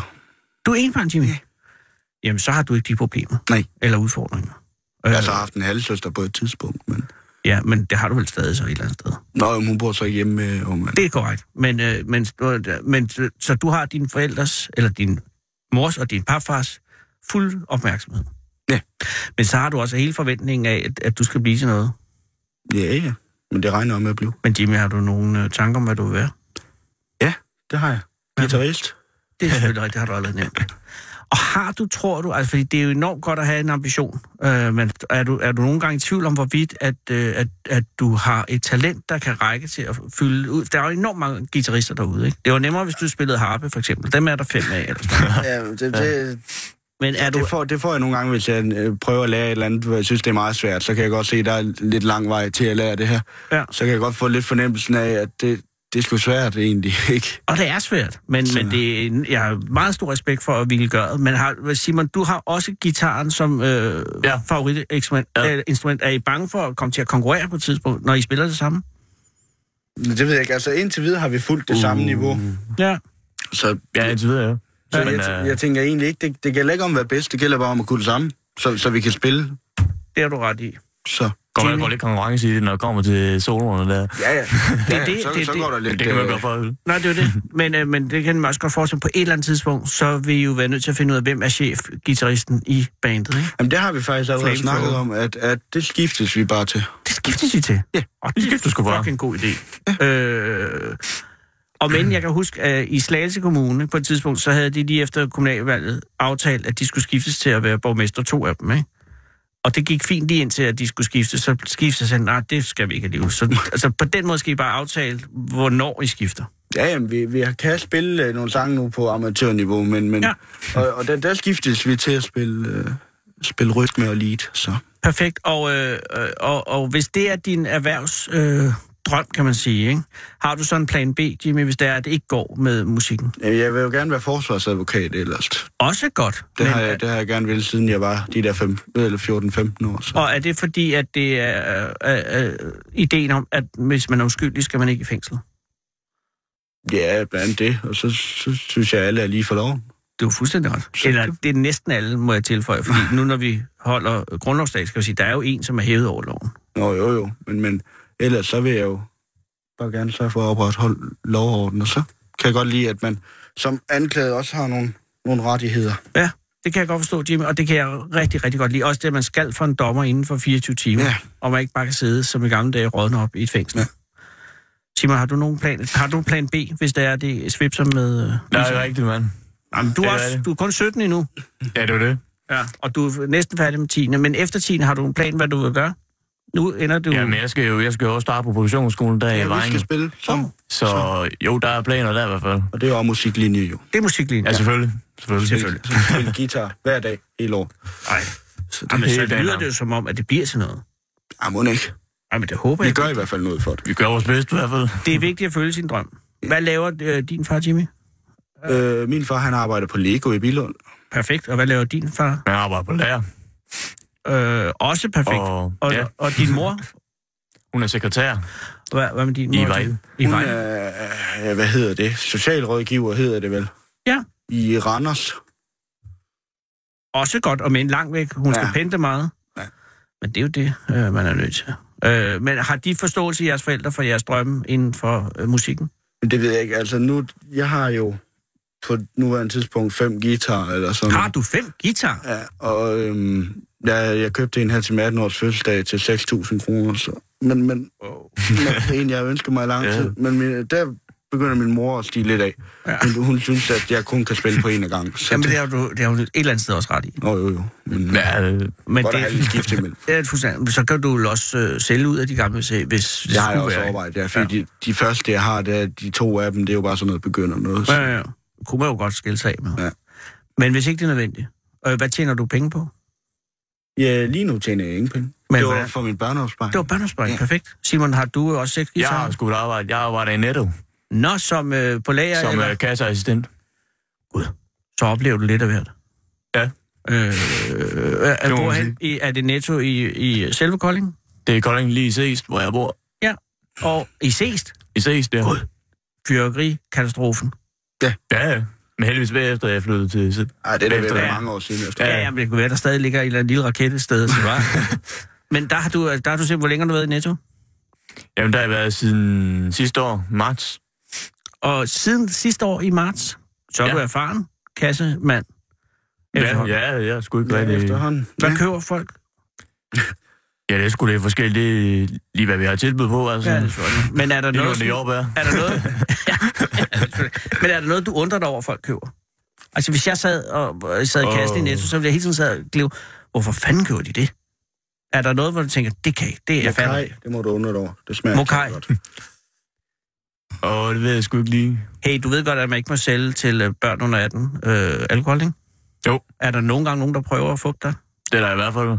Speaker 3: Du er enbarn, Jimmy. Jamen, så har du ikke de problemer.
Speaker 4: Nej.
Speaker 3: Eller udfordringer. Øh,
Speaker 4: Jeg har så
Speaker 5: Altså-
Speaker 4: haft en halvsøster på et tidspunkt, men...
Speaker 3: Ja, men det har du vel stadig så et eller andet sted.
Speaker 4: Nå, jamen, hun bor så hjemme med Ormand.
Speaker 3: Det er korrekt. Men, øh, men, øh, men så- så du har dine forældres, eller din mors og din papfars fuld opmærksomhed.
Speaker 4: Ja.
Speaker 3: Men så har du også hele forventningen af, at, at du skal blive til noget.
Speaker 4: Ja, ja. Men det regner jeg med at blive.
Speaker 3: Men Jimmy, har du nogle øh, tanker om, hvad du vil være?
Speaker 4: Det har jeg. Gitarrist.
Speaker 3: Det er selvfølgelig rigtigt, det har du allerede nævnt. Og har du, tror du, altså fordi det er jo enormt godt at have en ambition, øh, men er du, er du nogle gange i tvivl om, hvorvidt at, øh, at, at du har et talent, der kan række til at fylde ud? Der er jo enormt mange guitarister derude, ikke? Det var nemmere, hvis du spillede harpe, for eksempel. Dem er der fem af, eller sådan noget.
Speaker 4: Ja, det, det,
Speaker 3: Men er du,
Speaker 4: det, får, det får jeg nogle gange, hvis jeg øh, prøver at lære et eller andet, hvor jeg synes, det er meget svært. Så kan jeg godt se, at der er lidt lang vej til at lære det her.
Speaker 3: Ja.
Speaker 4: Så kan jeg godt få lidt fornemmelsen af, at det, det er sgu svært egentlig, ikke?
Speaker 3: Og det er svært, men, men det er, en- jeg har meget stor respekt for at ville gøre det. Men har, Simon, du har også gitaren som øh, ja.
Speaker 5: Ja.
Speaker 3: favoritinstrument.
Speaker 5: Ja.
Speaker 3: Ja. Instrument. Er I bange for at komme til at konkurrere på et tidspunkt, når I spiller det samme?
Speaker 4: Men det ved jeg ikke. Altså indtil videre har vi fulgt det uh. samme niveau.
Speaker 3: Ja.
Speaker 4: Så,
Speaker 5: Ja, indtil videre, ja.
Speaker 4: så
Speaker 5: Men,
Speaker 4: jeg, tæ-
Speaker 5: øh,
Speaker 4: jeg tænker egentlig ikke, det, det gælder ikke om at være bedst. Det gælder bare om at kunne det samme, så, så vi kan spille.
Speaker 3: Det har du ret i.
Speaker 4: Så
Speaker 5: Kommer der går lidt konkurrence i det, når det kommer til soloerne der.
Speaker 4: ja, ja.
Speaker 3: Det
Speaker 4: ja
Speaker 3: er det-
Speaker 4: så,
Speaker 3: det er
Speaker 4: så
Speaker 3: det.
Speaker 4: går der lidt...
Speaker 5: Det kan man
Speaker 4: øh,
Speaker 5: gøre for. at-
Speaker 3: Nej, det er jo det. Men, øh, men det kan man også godt forestille på et eller andet tidspunkt, så vil I jo være nødt til at finde ud af, hvem er chef-gitarristen i bandet, ikke?
Speaker 4: Jamen, det har vi faktisk allerede
Speaker 3: Flamethrower.
Speaker 4: snakket om, at, at det skiftes vi bare til.
Speaker 3: Det skiftes I til. Ja, og det
Speaker 5: skifter sgu bare.
Speaker 3: fucking en god idé. Øh, og men jeg kan huske, at i Slagelse Kommune på et tidspunkt, så havde de lige efter kommunalvalget aftalt, at de skulle skiftes til at være borgmester to af dem, ikke? Og det gik fint lige indtil, at de skulle skifte, så skiftede sig, nej, det skal vi ikke alligevel. Så altså, på den måde skal I bare aftale, hvornår I skifter.
Speaker 4: Ja, jamen, vi, vi kan spille øh, nogle sange nu på amatørniveau, men, men
Speaker 3: Ja.
Speaker 4: ja. og, og der, der skiftes vi til at spille, øh, spille rytme og lead, så.
Speaker 3: Perfekt. Og, øh, øh, og, og hvis det er din erhvervs... Øh, drøm, kan man sige. Ikke? Har du så en plan B, Jimmy, hvis det er, at det ikke går med musikken?
Speaker 4: Jamen, Øh, Jeg vil jo gerne være forsvarsadvokat ellers.
Speaker 3: Også godt.
Speaker 4: Det,
Speaker 3: men-
Speaker 4: har jeg, det har jeg gerne ville, siden jeg var de der fem, øh, eller 14-15 år. Så.
Speaker 3: Og er det fordi, at det er øh, øh, ideen om, at hvis man er uskyldig, skal man ikke i fængsel?
Speaker 4: Ja, blandt andet det. Og så, så synes jeg, at alle er lige for loven.
Speaker 3: Det er jo fuldstændig ret. Eller det er næsten alle, må jeg tilføje, fordi nu når vi holder grundlovsdag, skal vi sige, der er jo en, som er hævet over loven.
Speaker 4: Nå, jo, jo. Men, men ellers så vil jeg jo bare gerne sørge for at opretholde lovorden. Og så kan jeg godt lide, at man som anklaget også har nogle, nogle rettigheder.
Speaker 3: Ja, det kan jeg godt forstå, Jimmy, og det kan jeg rigtig, rigtig godt lide. Også det, at man skal for en dommer inden for 24 timer,
Speaker 4: Ja.
Speaker 3: og man ikke bare kan sidde som i gamle dage rådne op i et fængsel. Ja.
Speaker 4: Ja.
Speaker 3: Simon, har du nogen plan, har du en plan B, hvis det er, det svipser med... øh,
Speaker 5: Nej, det er rigtigt, mand.
Speaker 3: Jamen, du, er
Speaker 5: det er
Speaker 3: også,
Speaker 5: det.
Speaker 3: du er kun 17 endnu,
Speaker 5: Ja, det er det.
Speaker 3: ja. og du er næsten færdig med 10. Men efter 10 har du en plan, hvad du vil gøre? Nu ender du...
Speaker 5: Jamen, jeg skal jo jeg skal jo også starte på produktionsskolen der i
Speaker 4: Ja, vi
Speaker 5: Vejen.
Speaker 4: skal spille sammen.
Speaker 5: Så jo, der er planer der i hvert fald.
Speaker 4: Og det er jo musiklinje jo.
Speaker 3: Det er musiklinjen.
Speaker 5: Ja, selvfølgelig. Selvfølgelig.
Speaker 4: Så vi spiller guitar hver dag hele året.
Speaker 3: Ej.
Speaker 4: Så det,
Speaker 3: Jamen,
Speaker 5: Helt
Speaker 3: så lyder
Speaker 5: andet.
Speaker 3: det jo som om, at det bliver til noget.
Speaker 4: ah, må den ikke.
Speaker 3: Jamen, det håber
Speaker 4: Vi
Speaker 3: jeg.
Speaker 4: gør i hvert fald noget for det.
Speaker 5: Vi gør vores bedste i hvert fald.
Speaker 3: Det er vigtigt at følge sin drøm. Hvad laver øh, din far, Jimmy?
Speaker 4: Øh, min far, han arbejder på Lego i Bilund.
Speaker 3: Perfekt. Og hvad laver din far?
Speaker 5: Jeg arbejder på lærer,
Speaker 3: Øh, også perfekt. Og,
Speaker 5: og
Speaker 3: og,
Speaker 5: ja,
Speaker 3: ja. og din mor?
Speaker 5: hun er sekretær.
Speaker 3: Hvad, hvad med din mor?
Speaker 5: I Vejle.
Speaker 3: I
Speaker 4: Hun
Speaker 3: Vejle.
Speaker 4: er, øh, hvad hedder det? Socialrådgiver hedder det vel?
Speaker 3: Ja.
Speaker 4: I Randers.
Speaker 3: Også godt, og med en lang væk. Hun ja. skal
Speaker 4: Ja.
Speaker 3: pente meget. Ja.
Speaker 4: Ja.
Speaker 3: Men det er jo det, øh, man er nødt til. Øh, men har de forståelse i jeres forældre for jeres drømme inden for øh, musikken?
Speaker 4: Men det ved jeg ikke. Altså nu, jeg har jo på nuværende tidspunkt fem guitar eller sådan
Speaker 3: Har du fem guitar?
Speaker 4: noget. Ja, og øhm, jeg, jeg købte en her til min 18 års fødselsdag til 6.000 kroner. Så. Men, men
Speaker 3: Wow.
Speaker 4: men en, jeg ønsker mig i lang
Speaker 5: Ja.
Speaker 4: tid. Men min, der begynder min mor at stige lidt af.
Speaker 3: Ja.
Speaker 4: Ja. Hun, hun synes, at jeg kun kan spille på en af gangen. Så
Speaker 3: Jamen,
Speaker 4: det...
Speaker 3: det har du det har hun et eller andet sted også ret i.
Speaker 4: Nå, jo, jo. Men, ja,
Speaker 5: Ja, øh,
Speaker 3: Men
Speaker 4: godt at have
Speaker 3: det,
Speaker 4: lidt skift imellem.
Speaker 3: det er fuldstændig. men Så kan du jo også øh, sælge ud af de gamle, hvis, hvis
Speaker 4: Det har jeg
Speaker 3: skulle
Speaker 4: også
Speaker 3: være.
Speaker 4: overvejet, ja. Fordi ja. de, de første, jeg har, det er, de to af dem, det er jo bare sådan noget begynder noget.
Speaker 3: Ja, ja, ja. Kunne man jo godt skille sig af med.
Speaker 4: Ja.
Speaker 3: Men hvis ikke det er nødvendigt, øh, hvad tjener du penge på?
Speaker 4: Ja, lige nu tjener jeg ingen penge.
Speaker 3: Men
Speaker 4: Men, det var
Speaker 3: hvordan-
Speaker 4: for min børneopsparing.
Speaker 3: Det var børneopsparing, ja.
Speaker 4: Ja.
Speaker 3: perfekt. Simon, har du også seks
Speaker 5: jeg
Speaker 3: guitar?
Speaker 5: har sgu et arbejde. Jeg arbejder i Netto
Speaker 3: Nå, som øh, på lager,
Speaker 5: som
Speaker 3: eller?
Speaker 5: øh, kasseassistent.
Speaker 3: så oplever du lidt af hvert.
Speaker 5: Ja.
Speaker 3: Øh, er,
Speaker 5: må
Speaker 3: bor
Speaker 5: man
Speaker 3: hen, i, er det netto i, i selve Kolding?
Speaker 5: Det er Kolding lige i Seest, hvor jeg bor.
Speaker 3: Og i Seest,
Speaker 5: I Seest, ja.
Speaker 3: God. fyrværkerikatastrofen.
Speaker 5: Ja, ja. men heldigvis bagefter, jeg flyttede til Seest.
Speaker 4: Ej, det er da ved at
Speaker 5: Efter-
Speaker 4: være
Speaker 5: ja.
Speaker 4: mange år siden. Efter.
Speaker 5: Ja.
Speaker 3: Ja, ja, men det kunne være, der stadig ligger en eller anden lille raket et sted. Så var. men der har, du, der har du set, hvor længe har du været i netto?
Speaker 5: Jamen, der har jeg været siden sidste år, marts.
Speaker 3: Og siden sidste år i marts, så er
Speaker 5: Ja.
Speaker 3: du erfaren kassemand.
Speaker 5: Ja,
Speaker 3: efterhånden.
Speaker 5: ja, jeg skulle ikke
Speaker 4: Ja,
Speaker 5: rigtig...
Speaker 4: efterhånden.
Speaker 3: Hvad
Speaker 4: Ja.
Speaker 3: køber folk?
Speaker 5: Ja, det skulle det forskelligt. Det er lige, hvad vi har tilbud på, altså.
Speaker 3: Ja,
Speaker 5: Ja,
Speaker 3: det er selvfølgelig. men er der
Speaker 5: lige nu,
Speaker 3: noget...
Speaker 5: det er jordbær.
Speaker 3: Er der noget... ja, ja, selvfølgelig. men er der noget, du undrer dig over, folk køber? Altså, hvis jeg sad, og, øh, sad i kassen i
Speaker 5: Åh.
Speaker 3: Netto, så ville jeg hele tiden sad og gleve, hvorfor fanden køber de det? Er der noget, hvor du tænker, det kan ikke, det er jeg færdig.
Speaker 4: Mokai, det må du undre dig over. Det smager
Speaker 3: Mokai.
Speaker 4: ikke godt.
Speaker 5: Åh, det ved jeg sgu ikke lige.
Speaker 3: Hey, du ved godt, at man ikke må sælge til øh, børn under 18 øh, alkohol, ikke?
Speaker 5: Jo.
Speaker 3: Er der nogle gange nogen, der prøver at fuppe dig?
Speaker 5: Det er der i hvert fald.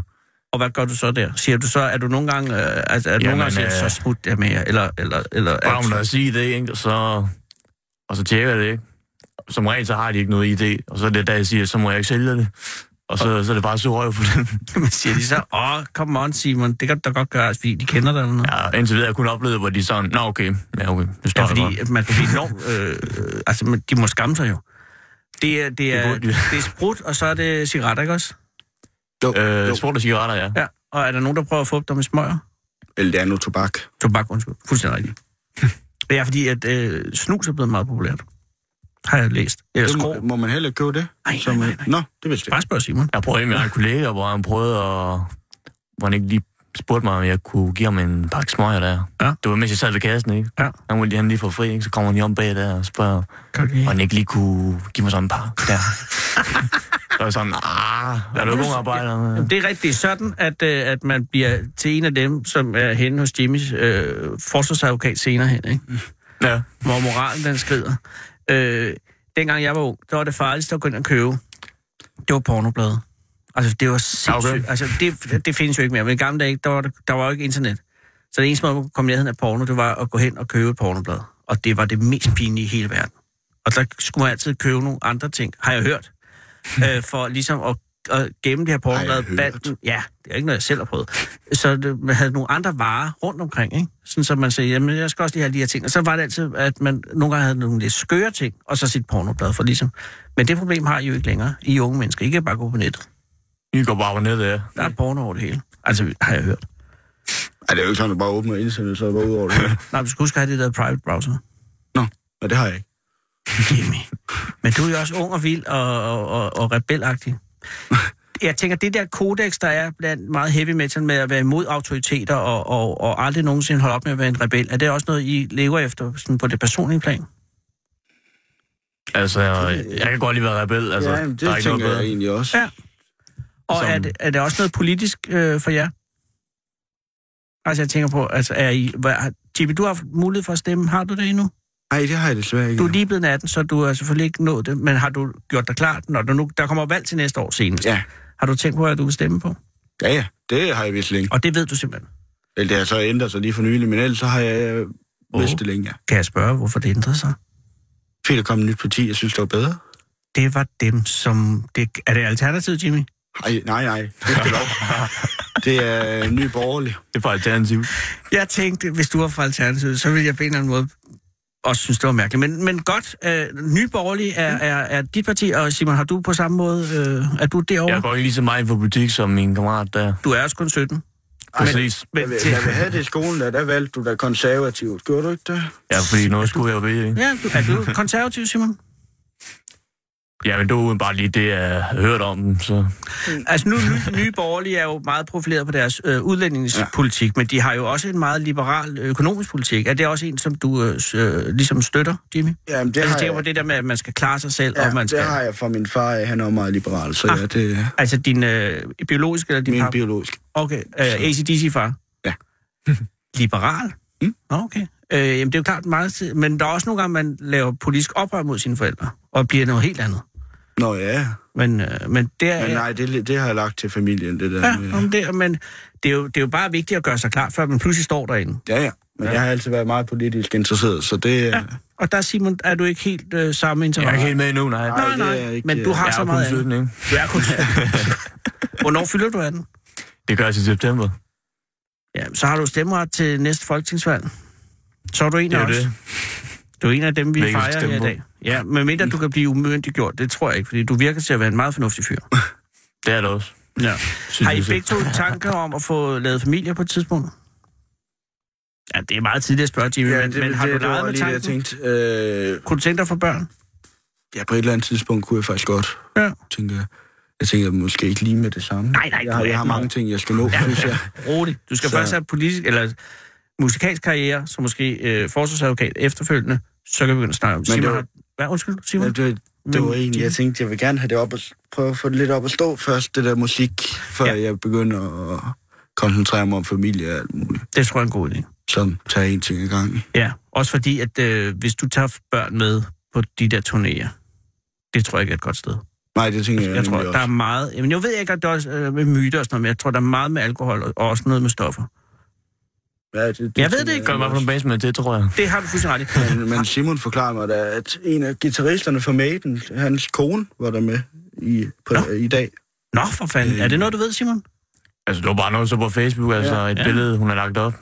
Speaker 3: Og hvad gør du så der? Siger du så, er du nogle gange, øh, altså, er du nogle
Speaker 5: Jamen,
Speaker 3: gange siger, så
Speaker 5: øh,
Speaker 3: smut jeg med jer, eller, eller, eller,
Speaker 5: Bare om der er sige det, ikke? Og så, og så tjekker jeg det, ikke? Som regel, så har de ikke noget idé. Og så er det der, jeg siger, så må jeg ikke sælge det. Og så, så er det bare så røv for dem.
Speaker 3: man siger de så, åh, oh, come on, Simon, det kan du da godt gøre, altså, fordi de kender dig eller noget.
Speaker 5: Ja, indtil videre har jeg kun oplevet, hvor de er sådan, nå okay, ja okay, det står
Speaker 3: Ja,
Speaker 5: ja,
Speaker 3: fordi at man kan blive enormt... Øh, øh, altså, man- de må skamme sig jo. Det er, det, er,
Speaker 5: burde de.
Speaker 3: det er sprut, og så er det cigaretter, ikke også?
Speaker 4: Jo,
Speaker 5: Øh,
Speaker 4: jo.
Speaker 5: sport og cigaretter, ja.
Speaker 3: Ja. Og er der nogen, der prøver at få dem med smøger?
Speaker 4: Eller det er nu tobak.
Speaker 3: Tobak, undskyld. Fuldstændig rigtigt. Det er fordi, at øh, snus er blevet meget populært. Har jeg læst. Eller
Speaker 4: Det
Speaker 3: skrå.
Speaker 4: må, må man heller købe det?
Speaker 3: Nej,
Speaker 4: Som,
Speaker 3: nej, nej,
Speaker 4: øh,
Speaker 3: nej.
Speaker 4: Nå, det vidste jeg.
Speaker 3: Bare spørg Simon.
Speaker 5: Jeg prøvede en med en kollega, hvor han prøvede at... Hvor han ikke lige spurgte mig, om jeg kunne give ham en pakke smøger der.
Speaker 3: Ja.
Speaker 5: Det var, mens jeg sad ved kassen, ikke?
Speaker 3: Ja.
Speaker 5: Han ville han lige få fri, ikke? Så kommer han lige om bag der og spørger, om han ikke lige kunne give mig sådan en pakke der. så er jeg sådan, ah, er du god arbejder?
Speaker 3: Jamen, det er rigtigt. Det er sådan, at, øh, at man bliver til en af dem, som er henne hos Jimmys øh, forsvarsadvokat senere hen, ikke?
Speaker 5: Ja.
Speaker 3: hvor moralen den skrider. Øh, dengang jeg var ung, der var det farligste at gå ind og købe. Det var pornoblade. Altså, det var sindssygt. Okay.
Speaker 5: Okay.
Speaker 3: Altså, det, det findes jo ikke mere. Men i gamle dage, der var, det- der var jo ikke internet. Så det eneste måde, man kunne komme i nærheden af porno, det var at gå hen og købe et pornoblad. Og det var det mest pinlige i hele verden. Og der skulle man altid købe nogle andre ting, har jeg hørt, øh, for ligesom at, at gemme det her pornoblad.
Speaker 4: Har jeg hørt?
Speaker 3: Banden, ja, det er ikke noget, jeg selv har prøvet. Så det, man havde nogle andre varer rundt omkring, ikke? Sådan, så man sagde, jamen, jeg skal også lige have de her ting. Og så var det altid, at man nogle gange havde nogle lidt skøre ting, og så sit pornoblad for ligesom. Men det problem har I jo ikke længere, I unge mennesker. I kan bare gå på nettet.
Speaker 5: I går bare på nettet, ja.
Speaker 3: Der er porno over det hele. Altså, har jeg hørt.
Speaker 4: Ej, det er jo ikke sådan, at du bare åbner internet, så er du bare ud over det.
Speaker 3: Nej, du skal huske at have det der private browser.
Speaker 4: Nå, men det har jeg ikke.
Speaker 3: Jimmy. Men du er jo også ung og vild og, og, og, og rebelagtig. Jeg tænker, det der kodex, der er blandt meget heavy metal med at være imod autoriteter og, og, og aldrig nogensinde holde op med at være en rebel, er det også noget, I lever efter sådan på det personlige plan?
Speaker 5: Altså, jeg kan godt lige være rebel. Altså,
Speaker 4: ja, jamen,
Speaker 5: der
Speaker 4: det
Speaker 5: er ikke noget
Speaker 4: tænker
Speaker 5: bedre.
Speaker 4: jeg egentlig også.
Speaker 3: Ja. Og
Speaker 5: Som-
Speaker 3: er, det, er det også noget politisk øh, for jer? Altså, jeg tænker på, altså, er I... Hvad, har- Jimmy, du har haft mulighed for at stemme. Har du det endnu?
Speaker 4: Nej, det har jeg desværre ikke.
Speaker 3: Du er lige blevet 18, så du har selvfølgelig ikke nået det, men har du gjort dig klart, når du nu, der kommer valg til næste år senest?
Speaker 4: Ja.
Speaker 3: Har du tænkt på, hvad du vil stemme på?
Speaker 4: Ja, ja, det har jeg vist længe.
Speaker 3: Og det ved du simpelthen.
Speaker 4: Eller det har så ændret sig lige for nylig, men ellers så har jeg øh, vidst det længe, ja.
Speaker 3: Kan jeg spørge, hvorfor det ændrede sig?
Speaker 4: Fedt at komme et nyt parti, jeg synes, det var bedre.
Speaker 3: Det var dem, som... Det, er det alternativet, Jimmy?
Speaker 4: Ej, nej, nej, det er lov. Det er øh, ny borgerlig.
Speaker 5: Det er for alternativ.
Speaker 3: Jeg tænkte, hvis du var fra alternativet, så ville jeg på en eller anden måde også synes, det var mærkeligt. Men, men godt, øh, Nye Borgerlige er,
Speaker 4: Mm.
Speaker 3: er, er dit parti, og Simon, har du på samme måde... Øh, er du derovre?
Speaker 5: Jeg går ikke lige så meget ind for butik som min kammerat der.
Speaker 3: Du er også kun 17.
Speaker 5: Præcis.
Speaker 3: Men,
Speaker 4: Jeg vil,
Speaker 3: til,
Speaker 4: jeg vil have det i skolen, der, der valgte du da konservativt. Gjorde du ikke det?
Speaker 5: Ja, fordi noget skulle jeg jo vide, ikke?
Speaker 3: ja, du, er du konservativ, Simon?
Speaker 5: Ja, men det var udenbart lige det, jeg har hørt om dem, så...
Speaker 3: Altså, nu, nye, nye borgerlige er jo meget profileret på deres øh, udlændingspolitik, men de har jo også en meget liberal øh, økonomisk politik. Er det også en, som du øh, s- øh, ligesom støtter, Jimmy?
Speaker 4: Jamen, det
Speaker 3: Det altså,
Speaker 4: har
Speaker 3: det er
Speaker 4: jeg-
Speaker 3: jo det der med, at man skal klare sig selv, ja,
Speaker 4: Ja,
Speaker 3: og man
Speaker 4: det
Speaker 3: skal...
Speaker 4: har jeg fra min far. af. Han er jo meget liberal, så
Speaker 3: Ah.
Speaker 4: ja, det er
Speaker 3: Altså din øh, biologiske eller din
Speaker 4: min
Speaker 3: par?
Speaker 4: biologisk.
Speaker 3: okay, øh, ACDC-far?
Speaker 4: Ja.
Speaker 3: Liberal?
Speaker 4: Mm.
Speaker 3: Nå, Okay. Øh, jamen, det er jo klart meget... tid- Men der er også nogle gange, man laver politisk oprør mod sine forældre, og bliver noget helt andet.
Speaker 4: Nå ja,
Speaker 3: Men, øh, men det er...
Speaker 4: men nej, det, det har jeg lagt til familien, det der.
Speaker 3: Ja,
Speaker 4: med-
Speaker 3: om det, men det er, jo, det er jo bare vigtigt at gøre sig klar, før man pludselig står derinde.
Speaker 4: Ja, ja. Men ja. jeg har altid været meget politisk interesseret, så det... Ja.
Speaker 3: Og der, Simon, er du ikke helt øh, samme
Speaker 5: Jeg er
Speaker 3: interesse.
Speaker 5: ikke helt med endnu, nej.
Speaker 4: Nej,
Speaker 3: Nej,
Speaker 4: det er
Speaker 3: nej,
Speaker 4: jeg ikke,
Speaker 3: men du
Speaker 4: øh,
Speaker 3: har
Speaker 5: jeg
Speaker 3: så
Speaker 5: er
Speaker 3: meget
Speaker 5: kun
Speaker 3: andet.
Speaker 5: 17,
Speaker 3: Du
Speaker 5: ikke?
Speaker 3: er kun 17. Hvornår fylder du 18?
Speaker 5: Det gør jeg til september.
Speaker 3: Ja, så har du stemmeret til næste folketingsvalg. Så er du en
Speaker 5: Det er
Speaker 3: af
Speaker 5: jo
Speaker 3: os.
Speaker 5: det.
Speaker 3: Du er en af dem, vi
Speaker 5: Hvilket
Speaker 3: fejrer her i
Speaker 5: stemme på.
Speaker 3: dag. Ja, medmindre du kan blive umyndiggjort, det tror jeg ikke, fordi du virker til at være en meget fornuftig fyr.
Speaker 5: Det er det også.
Speaker 3: Ja.
Speaker 5: Synes
Speaker 3: Har I
Speaker 5: jeg selv.
Speaker 3: begge to tanker om at få lavet familie på et tidspunkt? Ja, det er meget tidligt at spørge, Jimmy, ja, men, det, men har du
Speaker 4: var
Speaker 3: leget med
Speaker 4: lige det,
Speaker 3: tanken?
Speaker 4: jeg
Speaker 3: Det,
Speaker 4: tænkte. Øh,
Speaker 3: Kunne du tænke dig at få børn?
Speaker 4: ja, på et eller andet tidspunkt kunne jeg faktisk godt,
Speaker 3: Ja.
Speaker 4: tænker jeg. Jeg tænker måske ikke lige med det samme.
Speaker 3: Nej, nej,
Speaker 4: jeg,
Speaker 3: du
Speaker 4: har,
Speaker 3: er
Speaker 4: jeg har
Speaker 3: 18 år.
Speaker 4: mange ting, jeg skal nå, ja. synes jeg.
Speaker 3: Rolig. Du skal så...
Speaker 4: Så-
Speaker 3: først have politisk, eller musikalsk karriere, så måske øh, forsvarsadvokat efterfølgende, så kan vi begynde at snakke om.
Speaker 4: det
Speaker 3: Simon,
Speaker 4: var-
Speaker 3: har... Hvad, undskyld, Simon?
Speaker 4: Ja, det, det var
Speaker 3: Men-
Speaker 4: egentlig, jeg tænkte, jeg vil gerne have det op og s- prøve at få det lidt op at stå først, det der musik, før
Speaker 3: Ja.
Speaker 4: ja. jeg begynder at koncentrere mig om familie og alt muligt.
Speaker 3: Det tror jeg er en god idé.
Speaker 4: Så tager en ting ad gangen.
Speaker 3: Ja, også fordi, at øh, hvis du tager børn med på de der turnéer, det tror jeg ikke er et godt sted.
Speaker 4: Nej, det tænker jeg,
Speaker 3: Jeg tror,
Speaker 4: nemlig
Speaker 3: der er
Speaker 4: også.
Speaker 3: meget... Jamen, jeg ved ikke, at der er også øh, med myter og sådan noget, men jeg tror, der er meget med alkohol og, og også noget med stoffer.
Speaker 4: Ja, det, det
Speaker 3: Jeg ved
Speaker 4: tænker
Speaker 3: det ikke.
Speaker 5: Gør mig på en basement, det tror jeg.
Speaker 3: Det har du fuldstændig ret i.
Speaker 4: Men, men Simon forklarede mig da, at en af guitaristerne fra Maiden, hans kone, var der med i, på,
Speaker 3: Nå.
Speaker 4: i dag.
Speaker 3: Nå, for fanden. Er det noget, du ved, Simon?
Speaker 5: Altså, det var bare noget, så på Facebook, altså
Speaker 4: Ja.
Speaker 5: et
Speaker 3: Ja.
Speaker 5: billede, hun har lagt op,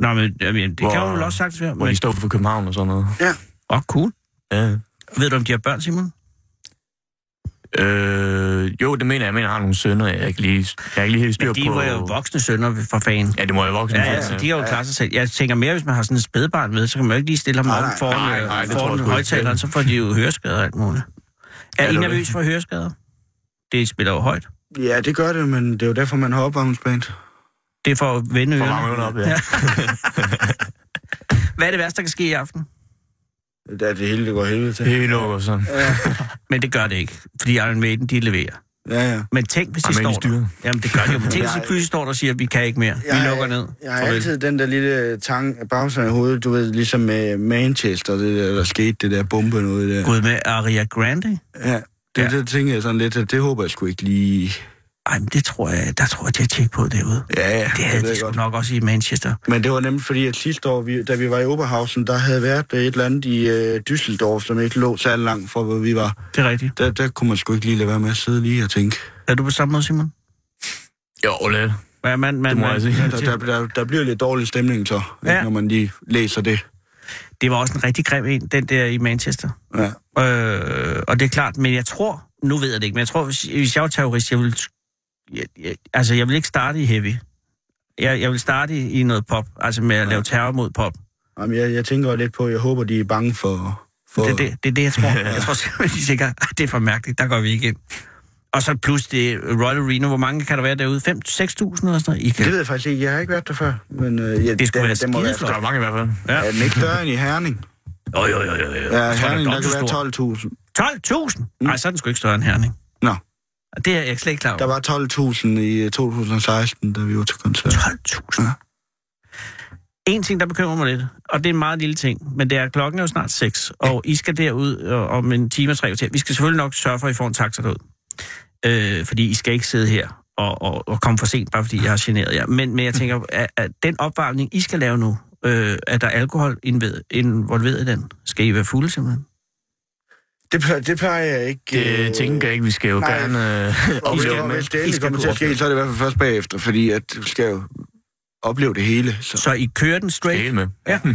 Speaker 3: Nå, men jamen, det
Speaker 5: Hvor-
Speaker 3: kan hun vel også sagtens være.
Speaker 5: hvor de
Speaker 3: Men...
Speaker 5: stod for København og sådan noget.
Speaker 3: Åh, oh, cool.
Speaker 5: Ja.
Speaker 3: Ved du, om de har børn, Simon?
Speaker 5: Øh, jo, det mener jeg. Jeg mener, jeg har nogle sønner. Jeg er ikke lige, jeg er ikke lige helt styr
Speaker 3: Men de
Speaker 5: på...
Speaker 3: var jo voksne sønner for fanden.
Speaker 5: Ja, det må jeg voksne.
Speaker 3: Ja,
Speaker 5: for,
Speaker 3: ja, så de kan jo klare sig selv. Jeg tænker mere, hvis man har sådan et spædbarn med, så kan man jo ikke lige stille ham
Speaker 4: Nej,
Speaker 3: op
Speaker 4: nej,
Speaker 3: foran, øh,
Speaker 5: nej, nej, det tror jeg
Speaker 3: foran
Speaker 5: sgu ikke.
Speaker 3: højtaleren, så får de jo høreskader og alt muligt. Er
Speaker 5: Ja,
Speaker 3: I
Speaker 5: det er
Speaker 3: nervøs
Speaker 5: rigtigt.
Speaker 3: for høreskader? Det spiller jo højt.
Speaker 4: Ja, det gør det, men det er jo derfor, man har opvarmningsband.
Speaker 3: Det er for at vende
Speaker 5: For
Speaker 3: ørerne.
Speaker 5: mange øjne op, ja.
Speaker 3: Hvad er det værste, der kan ske i aften?
Speaker 4: Det er det hele, det går helvede til.
Speaker 5: Helt lukker sådan.
Speaker 3: Men det gør det ikke, fordi Iron Maiden, de leverer.
Speaker 4: Ja, ja.
Speaker 3: Men tænk, hvis de
Speaker 5: Ej, men
Speaker 3: står
Speaker 5: de styrer.
Speaker 3: der. Jamen, det gør de jo. Men tænk, hvis de
Speaker 4: Jeg-
Speaker 3: pludselig står der og siger, at vi kan ikke mere. Vi lukker ned.
Speaker 4: Jeg har
Speaker 3: Farvel.
Speaker 4: altid den der lille tang bagsen i hovedet, du ved, ligesom med Manchester, det der, der skete, det der bombe noget der.
Speaker 3: Gud med Aria Grande.
Speaker 4: Ja, det,
Speaker 3: Ja.
Speaker 4: ja. det tænker jeg sådan lidt, at det håber jeg sgu ikke lige...
Speaker 3: Ej, men det tror jeg, der tror jeg, de har tjekket på derude.
Speaker 4: Ja, ja.
Speaker 3: Det havde de sgu nok også i Manchester.
Speaker 4: Men det var nemlig fordi, at sidste år, vi, da vi var i Oberhausen, der havde været øh, et eller andet i øh, Düsseldorf, som ikke lå særlig langt fra, hvor vi var.
Speaker 3: Det er rigtigt.
Speaker 4: Der, der kunne man sgu ikke lige lade være med at sidde lige og tænke.
Speaker 3: Er du på samme måde, Simon?
Speaker 5: Jo, lidt.
Speaker 3: Ja, man, man,
Speaker 5: Det må
Speaker 3: man,
Speaker 5: jeg sige.
Speaker 3: man-
Speaker 4: Der, der, der, der bliver lidt dårlig stemning så,
Speaker 3: Ja.
Speaker 4: ja. når man lige læser det.
Speaker 3: Det var også en rigtig grim en, den der i Manchester.
Speaker 4: Ja.
Speaker 3: Øh, og det er klart, men jeg tror, nu ved jeg det ikke, men jeg tror, hvis, hvis jeg var terrorist, jeg ville, jeg, jeg, altså jeg ville ikke starte i heavy. Jeg, jeg vil starte i, i noget pop, altså med at lave terror mod pop.
Speaker 4: Jamen, jeg, jeg tænker lidt på, jeg håber, de er bange for... for
Speaker 3: Det, er det, det er det, jeg tror. Jeg tror simpelthen, de tænker, "Ah, det er for mærkeligt, der går vi ikke ind. Og så plus det Royal Arena, hvor mange kan der være derude? 5-6.000 eller sådan noget? I kan,
Speaker 4: det ved jeg faktisk ikke. Jeg har ikke været der før. Men øh, jeg,
Speaker 3: Det skulle være
Speaker 4: må være
Speaker 3: skideflot.
Speaker 5: Der er mange i hvert fald.
Speaker 4: større. Er den ikke større end i Herning?
Speaker 3: jo, jo, jo, jo, jo.
Speaker 4: Ja,
Speaker 3: Jeg tror, den er
Speaker 4: Herning, der
Speaker 3: dobbelt
Speaker 4: kan
Speaker 3: stor.
Speaker 4: være 12.000.
Speaker 3: 12.000? Nej, så er den sgu ikke større end Herning.
Speaker 4: Mm. Nå.
Speaker 3: Det er jeg slet ikke klar over.
Speaker 4: Der var 12.000 i øh, 2016, da vi var til koncert.
Speaker 3: 12.000?
Speaker 4: Ja.
Speaker 3: En ting, der bekymrer mig lidt, og det er en meget lille ting, men det er, at klokken er jo snart 6, og I skal derud øh, om en time og tre kvarter. Vi skal selvfølgelig nok sørge for, at I får en taxa derud. Øh, fordi I skal ikke sidde her og, og, og komme for sent, bare fordi jeg har generet jer. Men, men jeg tænker, at, at den opvarmning, I skal lave nu, øh, er der alkohol indved- involveret i den? Skal I være fulde simpelthen?
Speaker 4: Det, plejer- det plejer jeg ikke...
Speaker 5: Det
Speaker 4: øh,
Speaker 5: tænker jeg ikke, vi skal jo
Speaker 4: nej.
Speaker 5: gerne... Øh,
Speaker 4: Og
Speaker 5: I
Speaker 4: hvis,
Speaker 5: skal
Speaker 4: det,
Speaker 5: med.
Speaker 4: hvis
Speaker 3: I
Speaker 4: det endelig
Speaker 3: skal
Speaker 4: kommer
Speaker 3: på
Speaker 4: til at ske,
Speaker 3: opdagelse.
Speaker 4: så er det i hvert fald først bagefter, fordi at du skal jo opleve det hele. Så.
Speaker 3: Så I kører den
Speaker 5: Det er
Speaker 3: straight?
Speaker 5: helt med.
Speaker 3: Ja.
Speaker 4: Ja.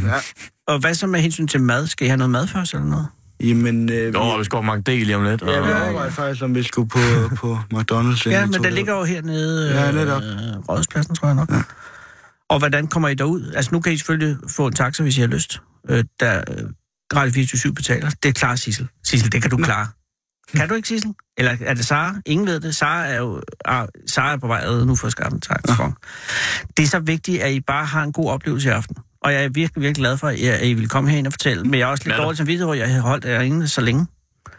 Speaker 3: Og hvad så med hensyn til mad? Skal I have noget mad først eller noget?
Speaker 4: Jamen, øh,
Speaker 5: Jo, og vi
Speaker 4: vi,
Speaker 5: skal over Magdal lige om lidt. Og,
Speaker 4: ja, vi overvejede faktisk, om vi skulle på, på McDonald's. inden
Speaker 3: Ja,
Speaker 4: vi
Speaker 3: men
Speaker 4: tog
Speaker 3: den
Speaker 4: det.
Speaker 3: ligger jo hernede
Speaker 4: Ja, netop.
Speaker 3: øh, Rådhuspladsen, tror jeg nok. Ja. Og hvordan kommer I derud? Altså, nu kan I selvfølgelig få en taxa, hvis I har lyst. Øh, der øh, Radio 24 betaler. Det er klart, Sissel. Sissel, det kan du klare. Kan du ikke, Sissel? Eller er det Sara? Ingen ved det. Sara er jo ah, Sara er på vej ad nu for at skaffe en taxa. Ja. Det er så vigtigt, at I bare har en god oplevelse i aften. Og jeg er virkelig, virkelig glad for, at I- at I vil komme herind og fortælle. Men jeg er også lidt
Speaker 5: Ja, da.
Speaker 3: dårlig samvittighed, over, at jeg har holdt jer inde så længe.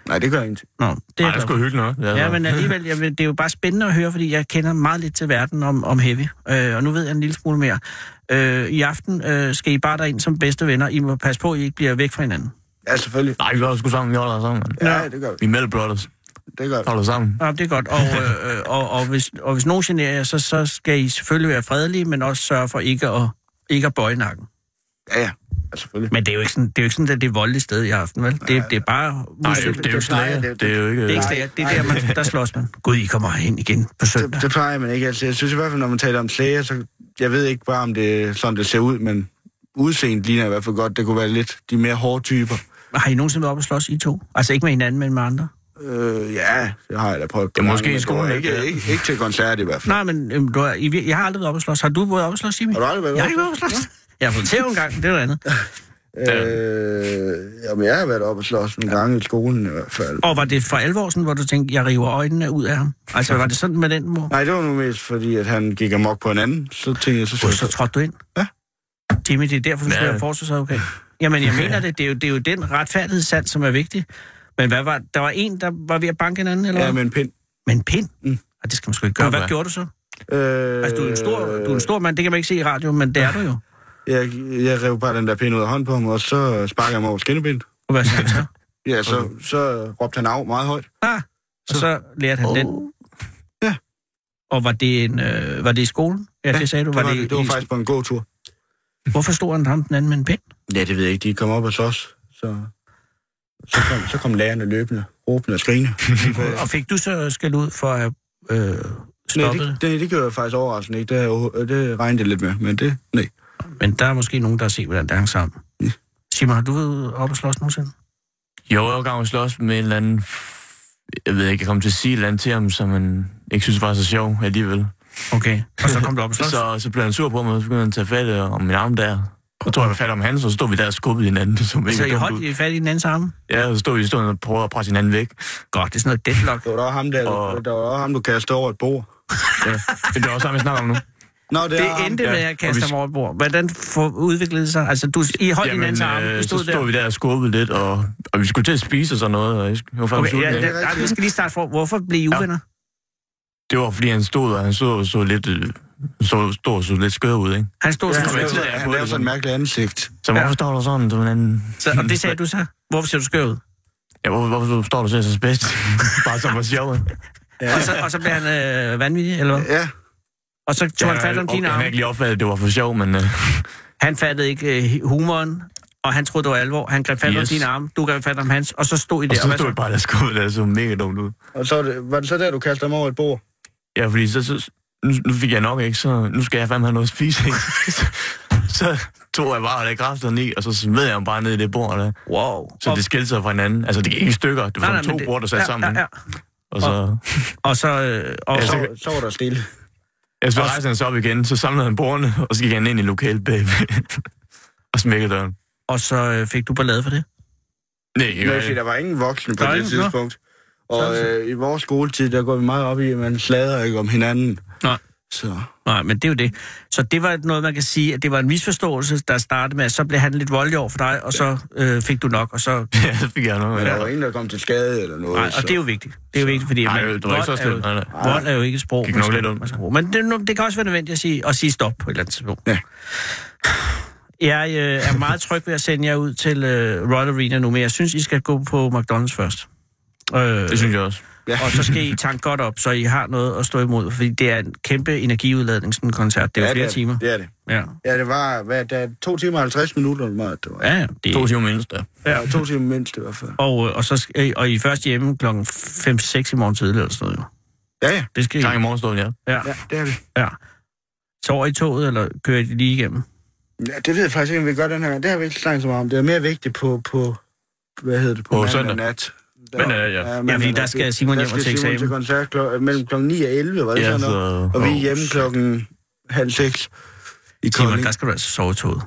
Speaker 4: Nej, det gør ingenting.
Speaker 3: Nå, det er jeg
Speaker 5: Nej,
Speaker 3: glad
Speaker 5: det
Speaker 3: for.
Speaker 5: skulle hygge nok.
Speaker 3: Ja, men alligevel, jeg, ved- det er jo bare spændende at høre, fordi jeg kender meget lidt til verden om, om heavy, øh, og nu ved jeg en lille smule mere. Øh, I aften øh, skal I bare derind som bedste venner. I må passe på, at I ikke bliver væk fra hinanden.
Speaker 4: Ja, selvfølgelig.
Speaker 5: Nej, vi var sgu sammen. Vi holder os sammen. mand.
Speaker 4: Ja, det gør vi.
Speaker 5: Vi er Metal Brothers.
Speaker 4: Det gør vi.
Speaker 5: Holder sammen.
Speaker 3: Ja, det er godt. Og, øh, øh, og, og, hvis, og hvis nogen generer jer, så, så skal I selvfølgelig være fredelige, men også sørge for ikke at, ikke at bøje nakken.
Speaker 4: Ja, ja. Ja, selvfølgelig.
Speaker 3: Men det er jo ikke sådan, det er, jo ikke sådan, at det er voldeligt sted i aften, vel? Det, det er bare...
Speaker 5: Nej,
Speaker 3: musik.
Speaker 5: det er jo ikke
Speaker 4: plejer-
Speaker 5: slager.
Speaker 4: det-
Speaker 5: Det er jo ikke...
Speaker 3: det er ikke slager. Det er der, man, der slås man. Gud, I kommer ind igen på søndag.
Speaker 4: Det, det plejer man ikke altid. Jeg synes i hvert fald, når man taler om slæger, så jeg ved ikke bare, om det er sådan, det ser ud, men udseendet ligner i hvert fald godt. Det kunne være lidt de mere hårde typer.
Speaker 3: Har I nogensinde været oppe og slås, I to? Altså ikke med hinanden, men med andre?
Speaker 4: Øh, ja, det har jeg da prøvet.
Speaker 5: Ja, måske
Speaker 4: Men
Speaker 5: i skolen,
Speaker 4: det var
Speaker 5: ja.
Speaker 4: Ikke, ikke, ikke til koncert i hvert fald.
Speaker 3: Nej, men øhm, du har, I, vir- jeg har aldrig været oppe at slås. Har du været oppe at slås, Jimmy?
Speaker 4: Har du aldrig været
Speaker 3: Jeg har
Speaker 4: oppe
Speaker 3: ikke været oppe at slås. Jeg har fået tæv en gang, det er noget andet.
Speaker 4: Øh, jamen, jeg har været oppe og slås nogle gange i skolen i hvert fald.
Speaker 3: Og var det for alvor sådan, hvor du tænkte, jeg river øjnene ud af ham? Altså, var det sådan med den mor?
Speaker 4: Nej, det var nu mest fordi, at han gik amok på en anden. Så tænkte jeg, så
Speaker 3: Gud,
Speaker 4: skulle
Speaker 3: så
Speaker 4: jeg...
Speaker 3: trådte du ind.
Speaker 4: Ja.
Speaker 3: Jimmy, det er derfor, du skal
Speaker 5: Ja.
Speaker 3: være forsvarsadvokat. Jamen, jeg mener det. Det er jo, det er jo den retfærdighedssand, som er vigtig. Men hvad var, der var en, der var ved at banke en anden, eller
Speaker 4: Ja,
Speaker 3: men...
Speaker 4: med en pind.
Speaker 3: men pind? Mm.
Speaker 4: Mm.
Speaker 3: Og det skal man sgu ikke gøre. Hvad
Speaker 5: Uha.
Speaker 3: gjorde du så?
Speaker 4: Øh,
Speaker 3: Altså, du er, en stor, du er en stor mand, det kan man ikke se i radio, men det er du jo.
Speaker 4: Jeg, jeg rev bare den der pind ud af hånden på ham, og så sparkede jeg mig over skinnebenet.
Speaker 3: Og hvad sagde han så?
Speaker 4: Ja, så, så råbte han af meget højt.
Speaker 3: Ah, og så lærte han oh. den.
Speaker 4: Ja.
Speaker 3: Og var det, en, øh, var det i skolen? Ja, det sagde du.
Speaker 4: Det var, det, det var faktisk på en god tur.
Speaker 3: Hvorfor stod han ham den anden med en pind?
Speaker 4: Ja, det ved jeg ikke. De kom op hos os, så, så, kom, så kom lærerne løbende, råbende og skrigende.
Speaker 3: Og fik du så skal ud for at øh,
Speaker 4: nej,
Speaker 3: stoppe
Speaker 4: det,
Speaker 3: det?
Speaker 4: det, det gjorde jeg faktisk overraskende ikke. Det, havde jeg jo- det regnede jeg lidt med, men det, nej.
Speaker 3: Men der er måske nogen, der har set, hvordan det hang sammen.
Speaker 4: Ja.
Speaker 3: Simon, har du været oppe og slås nogensinde?
Speaker 5: Jo, jeg var gang og slås med en eller anden... Jeg ved ikke, jeg kom til at sige et eller andet til ham, som man ikke synes var så sjov alligevel.
Speaker 3: Okay. Og så kom du op og slås?
Speaker 5: Så, så blev han sur på mig, og så begyndte han at tage fat øh, om min arm der. Så tog jeg fat om hans, og så stod vi der og skubbede hinanden. Det så mega
Speaker 3: så Altså, I
Speaker 5: dumt
Speaker 3: holdt
Speaker 5: ud.
Speaker 3: I fat i den anden sammen?
Speaker 5: Ja, og så stod vi i stunden og prøvede at presse hinanden væk.
Speaker 3: Godt, det er sådan noget deadlock.
Speaker 4: Det var da ham, der,
Speaker 5: Og-
Speaker 4: og... der var da ham, du kastede over et bord.
Speaker 5: Ja. Men det er også ham, jeg snakker om nu.
Speaker 4: Nå, det, er
Speaker 3: Det
Speaker 4: ham.
Speaker 3: endte
Speaker 5: ja.
Speaker 3: med at
Speaker 5: Og vi
Speaker 3: kaste
Speaker 5: sk-
Speaker 3: ham over et bord. Hvordan for, udviklede det sig? Altså, du, I holdt Jamen, hinandens arme,
Speaker 5: øh,
Speaker 3: I
Speaker 5: så
Speaker 3: stod
Speaker 5: stod
Speaker 3: der.
Speaker 5: vi der og skubbede lidt, og, og vi skulle til at spise og sådan noget. Og jeg sk- jeg var faktisk
Speaker 3: Okay,
Speaker 5: okay,
Speaker 3: ja,
Speaker 5: ja,
Speaker 3: det, nej, vi skal lige starte for. Hvorfor blev I uvenner?
Speaker 5: Det var, fordi han stod, og han så, så lidt... øh, Så, stod, så lidt skør ud, ikke?
Speaker 3: Han stod
Speaker 4: Ja,
Speaker 3: sådan
Speaker 5: kom
Speaker 4: han
Speaker 5: jeg til at
Speaker 4: lavede-
Speaker 5: have
Speaker 4: han
Speaker 5: på
Speaker 4: lavede
Speaker 5: det
Speaker 4: sådan
Speaker 5: sådan.
Speaker 4: et mærkeligt ansigt.
Speaker 5: Så hvorfor står du sådan? Du, hvordan,
Speaker 3: Så, og det sagde du så? Hvorfor siger du skør ud?
Speaker 5: ja, hvorfor, hvorfor står du så så bedst? Bare som for sjov. ikke?
Speaker 3: Og så, og så blev han øh, vanvittig, eller hvad?
Speaker 6: Ja,
Speaker 3: Og så tog han fat om din
Speaker 5: Jeg har
Speaker 3: arm.
Speaker 5: ikke lige opfattet, at det var for sjov, men... Øh,
Speaker 3: Han fattede ikke øh, humoren, og han troede, det var alvor. Han greb fat yes. om
Speaker 5: Yes.
Speaker 3: din arm, du greb fat om hans, og så stod I der.
Speaker 5: og så
Speaker 3: hvad
Speaker 5: stod jeg bare, der skulle der så mega dumt ud.
Speaker 4: Og så var det, var det så der, du kastede ham over et bord?
Speaker 5: Ja, fordi så, så nu, nu fik jeg nok, ikke? Så nu skal jeg fandme have noget at spise, ikke? så, så tog jeg bare det kræfterne i, og så smed jeg ham bare ned i det bord der.
Speaker 3: Wow.
Speaker 5: Så
Speaker 3: Og-
Speaker 5: det skilte sig fra hinanden. Altså, det gik ikke i stykker. Det var
Speaker 3: Nej, nej,
Speaker 5: nej, to
Speaker 3: men det-
Speaker 5: bord, der sat
Speaker 3: ja,
Speaker 5: sammen.
Speaker 3: Ja,
Speaker 5: Ja,
Speaker 3: ja.
Speaker 5: Og så,
Speaker 3: Og så, øh, og, så,
Speaker 5: Ja, så-
Speaker 4: Så var der stille.
Speaker 5: ja, så rejste han sig op igen, så samlede han bordene, og så gik han ind i lokalet bag og smækkede døren.
Speaker 3: og så øh, fik du ballade for det.
Speaker 5: Nej, ikke
Speaker 6: men fordi
Speaker 5: rigtigt.
Speaker 6: der var ingen voksne på
Speaker 3: Der er
Speaker 6: det
Speaker 3: ingen, nå.
Speaker 6: tidspunkt. Og
Speaker 3: Sådan.
Speaker 6: øh, i vores skoletid, der går vi meget op i, at man slader ikke om hinanden.
Speaker 3: Nej.
Speaker 6: Så
Speaker 3: Nej, men det er jo det. Så det var noget, man kan sige, at det var en misforståelse, der startede med, at så blev han lidt voldelig over for dig, og så øh, fik du nok, og så...
Speaker 5: Ja, så fik jeg noget.
Speaker 6: men der
Speaker 5: Ja.
Speaker 6: var ingen, der kom til skade eller noget.
Speaker 3: Nej, og det er jo vigtigt. Det er jo vigtigt, fordi...
Speaker 5: Nej,
Speaker 3: man-
Speaker 5: det var ikke så
Speaker 3: vold er
Speaker 5: slemt,
Speaker 3: jo-
Speaker 5: nej, nej.
Speaker 3: Vold er jo ikke et sprog.
Speaker 5: Gik
Speaker 3: man
Speaker 5: nok
Speaker 3: skal-
Speaker 5: lidt ondt.
Speaker 3: man skal bruge. Men det, er nu- det kan også være nødvendigt at sige, at sige stop på et eller andet tidspunkt.
Speaker 6: Ja.
Speaker 3: Jeg øh, er meget tryg ved at sende jer ud til øh, Royal Arena nu, men jeg synes, I skal gå på McDonald's først. Øh,
Speaker 5: Det synes jeg også.
Speaker 3: og så skal I tanke godt op, så I har noget at stå imod, fordi det er en kæmpe energiudladning, sådan en koncert. Det er jo
Speaker 6: Ja,
Speaker 3: ja, flere
Speaker 6: det,
Speaker 3: timer.
Speaker 6: Det er det.
Speaker 3: Ja,
Speaker 6: Ja, det var hvad, der, er to timer og 50 minutter. eller meget, Det var.
Speaker 3: ja, ja, det
Speaker 5: To timer mindst, ja.
Speaker 3: ja.
Speaker 6: Ja, to timer mindst i hvert fald.
Speaker 3: Og, øh, og, så skal, og I er først hjemme klokken 5-6 i morgen tidlig eller sådan noget. jo.
Speaker 6: Ja, ja.
Speaker 3: Det skal I.
Speaker 5: Tak i morgenstunden, ja.
Speaker 3: Ja.
Speaker 6: ja det er det.
Speaker 3: ja. Sover I i toget, eller kører I lige igennem?
Speaker 6: Ja, det ved jeg faktisk ikke, om vi gør den her gang. Det har vi ikke snakket så meget om. Det er mere vigtigt på, på hvad hedder det, på,
Speaker 5: På
Speaker 6: mandag
Speaker 5: søndag.
Speaker 6: nat.
Speaker 5: Mandag nat, ja.
Speaker 6: mandag
Speaker 3: øh, fordi der
Speaker 6: nat.
Speaker 3: skal Simon
Speaker 6: Der
Speaker 3: hjem og
Speaker 6: skal
Speaker 3: til
Speaker 6: Simon
Speaker 3: eksamen.
Speaker 6: koncert klo- mellem kl. 9 og 11, var det
Speaker 5: ja
Speaker 6: sådan noget?
Speaker 5: så,
Speaker 6: Og vi er
Speaker 5: åh,
Speaker 6: hjemme klokken halv seks i
Speaker 3: Simon,
Speaker 6: Kolding.
Speaker 3: der skal du altså sove i toget.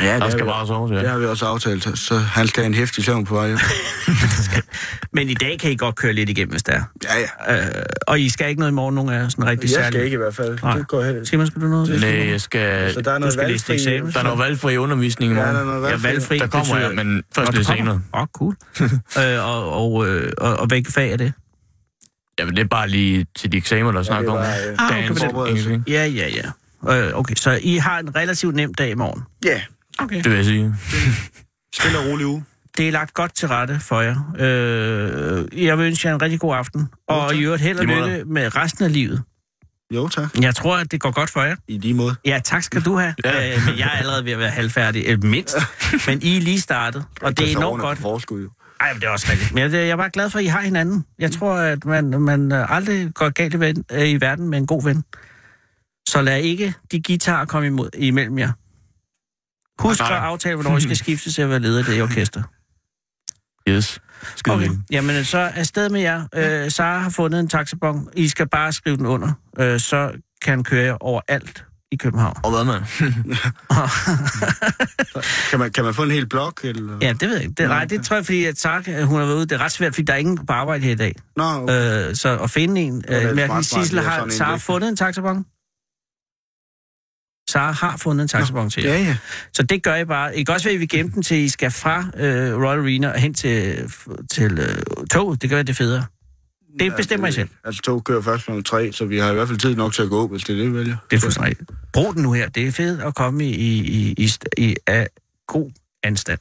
Speaker 6: Ja,
Speaker 5: Der
Speaker 6: det,
Speaker 5: skal
Speaker 6: skal
Speaker 5: bare sove,
Speaker 6: det
Speaker 5: ja.
Speaker 6: har vi også aftalt, så- så han skal have en hæftig søvn på vej. hjem.
Speaker 3: Men i dag kan I godt køre lidt igennem, hvis det er.
Speaker 6: Ja, ja.
Speaker 3: Øh, og I skal ikke noget i morgen, nogen af jer sådan rigtig
Speaker 6: Jeg
Speaker 3: særligt.
Speaker 6: skal ikke i hvert fald.
Speaker 3: Nej.
Speaker 6: Det går heller ikke.
Speaker 3: Simon, skal du noget?
Speaker 5: Nej, jeg skal...
Speaker 6: Så der er noget
Speaker 3: Øh, skal læse til
Speaker 6: valgfri-
Speaker 3: eksamen.
Speaker 5: Der er noget valgfri undervisning i
Speaker 6: Ja,
Speaker 5: morgen.
Speaker 6: der er noget
Speaker 3: Ja,
Speaker 6: valgfri.
Speaker 3: valgfri.
Speaker 5: Der kommer jeg, men først lidt senere.
Speaker 3: Åh, oh, cool. øh, og, og, øh, og, og hvilke fag er det?
Speaker 5: Jamen, det er bare lige til de eksamener, der snakker om.
Speaker 6: var, øh,
Speaker 3: Ah, okay,
Speaker 5: Dans,
Speaker 3: men
Speaker 6: det-
Speaker 5: engelsk, ikke?
Speaker 3: Ja, ja, ja. Øh, okay, så I har en relativt nem dag i morgen.
Speaker 6: Ja,
Speaker 3: Okay.
Speaker 5: det vil jeg sige.
Speaker 6: stille og rolig uge.
Speaker 3: Det er lagt godt til rette for jer. Øh, jeg vil ønske jer en rigtig god aften. Og i øvrigt held og
Speaker 5: I måde.
Speaker 3: lykke med resten af livet.
Speaker 6: Jo, tak.
Speaker 3: Jeg tror, at det går godt for jer.
Speaker 6: I lige måde.
Speaker 3: Ja, tak skal du have.
Speaker 5: Ja.
Speaker 3: Øh, men jeg er allerede ved at være halvfærdig, øh, mindst. Men I er lige startet, og det er enormt godt.
Speaker 6: Altså, Forskud, jo.
Speaker 3: Ej, men det er også rigtigt. Men jeg, jeg er bare glad for, at I har hinanden. Jeg tror, at man, man øh, aldrig går galt i, ven, øh, i verden med en god ven. Så lad ikke de guitarer komme imod, imellem jer. Husk at
Speaker 5: Nej.
Speaker 3: aftale, hvornår I skal skifte til at være leder af det i orkester.
Speaker 5: Yes. Skide okay.
Speaker 3: Jamen, øh, så afsted med jer. Øh, Sara har fundet en taxabon. I skal bare skrive den under. Øh, så kan han køre jer overalt i København.
Speaker 5: Og hvad, mand?
Speaker 6: Kan man, kan man få en hel blok? Eller?
Speaker 3: Ja, det ved jeg ikke. Det, nej, det tror jeg, fordi at Sark, øh, hun har været ude. Det er ret svært, fordi der er ingen på arbejde her i dag.
Speaker 6: Nå, okay.
Speaker 3: Øh, så at finde en.
Speaker 6: er
Speaker 3: Øh, men jeg kan
Speaker 6: smart, smart,
Speaker 3: sige, Sissel
Speaker 6: det er
Speaker 3: har,
Speaker 6: sådan en
Speaker 3: Sara
Speaker 6: væk.
Speaker 3: fundet en taxabon. Sara har fundet en taxabon til jer.
Speaker 6: ja, ja.
Speaker 3: Så det gør I bare. I kan også være, at vi gemmer den til, I skal fra øh, Royal Arena og hen til, f- til øh, toget. Det gør det federe. Det bestemmer I
Speaker 6: altså,
Speaker 3: selv.
Speaker 6: Altså, tog kører først kl. 3, så vi har i hvert fald tid nok til at gå, hvis det er det, vi vælger.
Speaker 3: Det er fuldstændig rigtigt. Brug den nu her. Det er fedt at komme i, i, i, i, st- i af god anstand.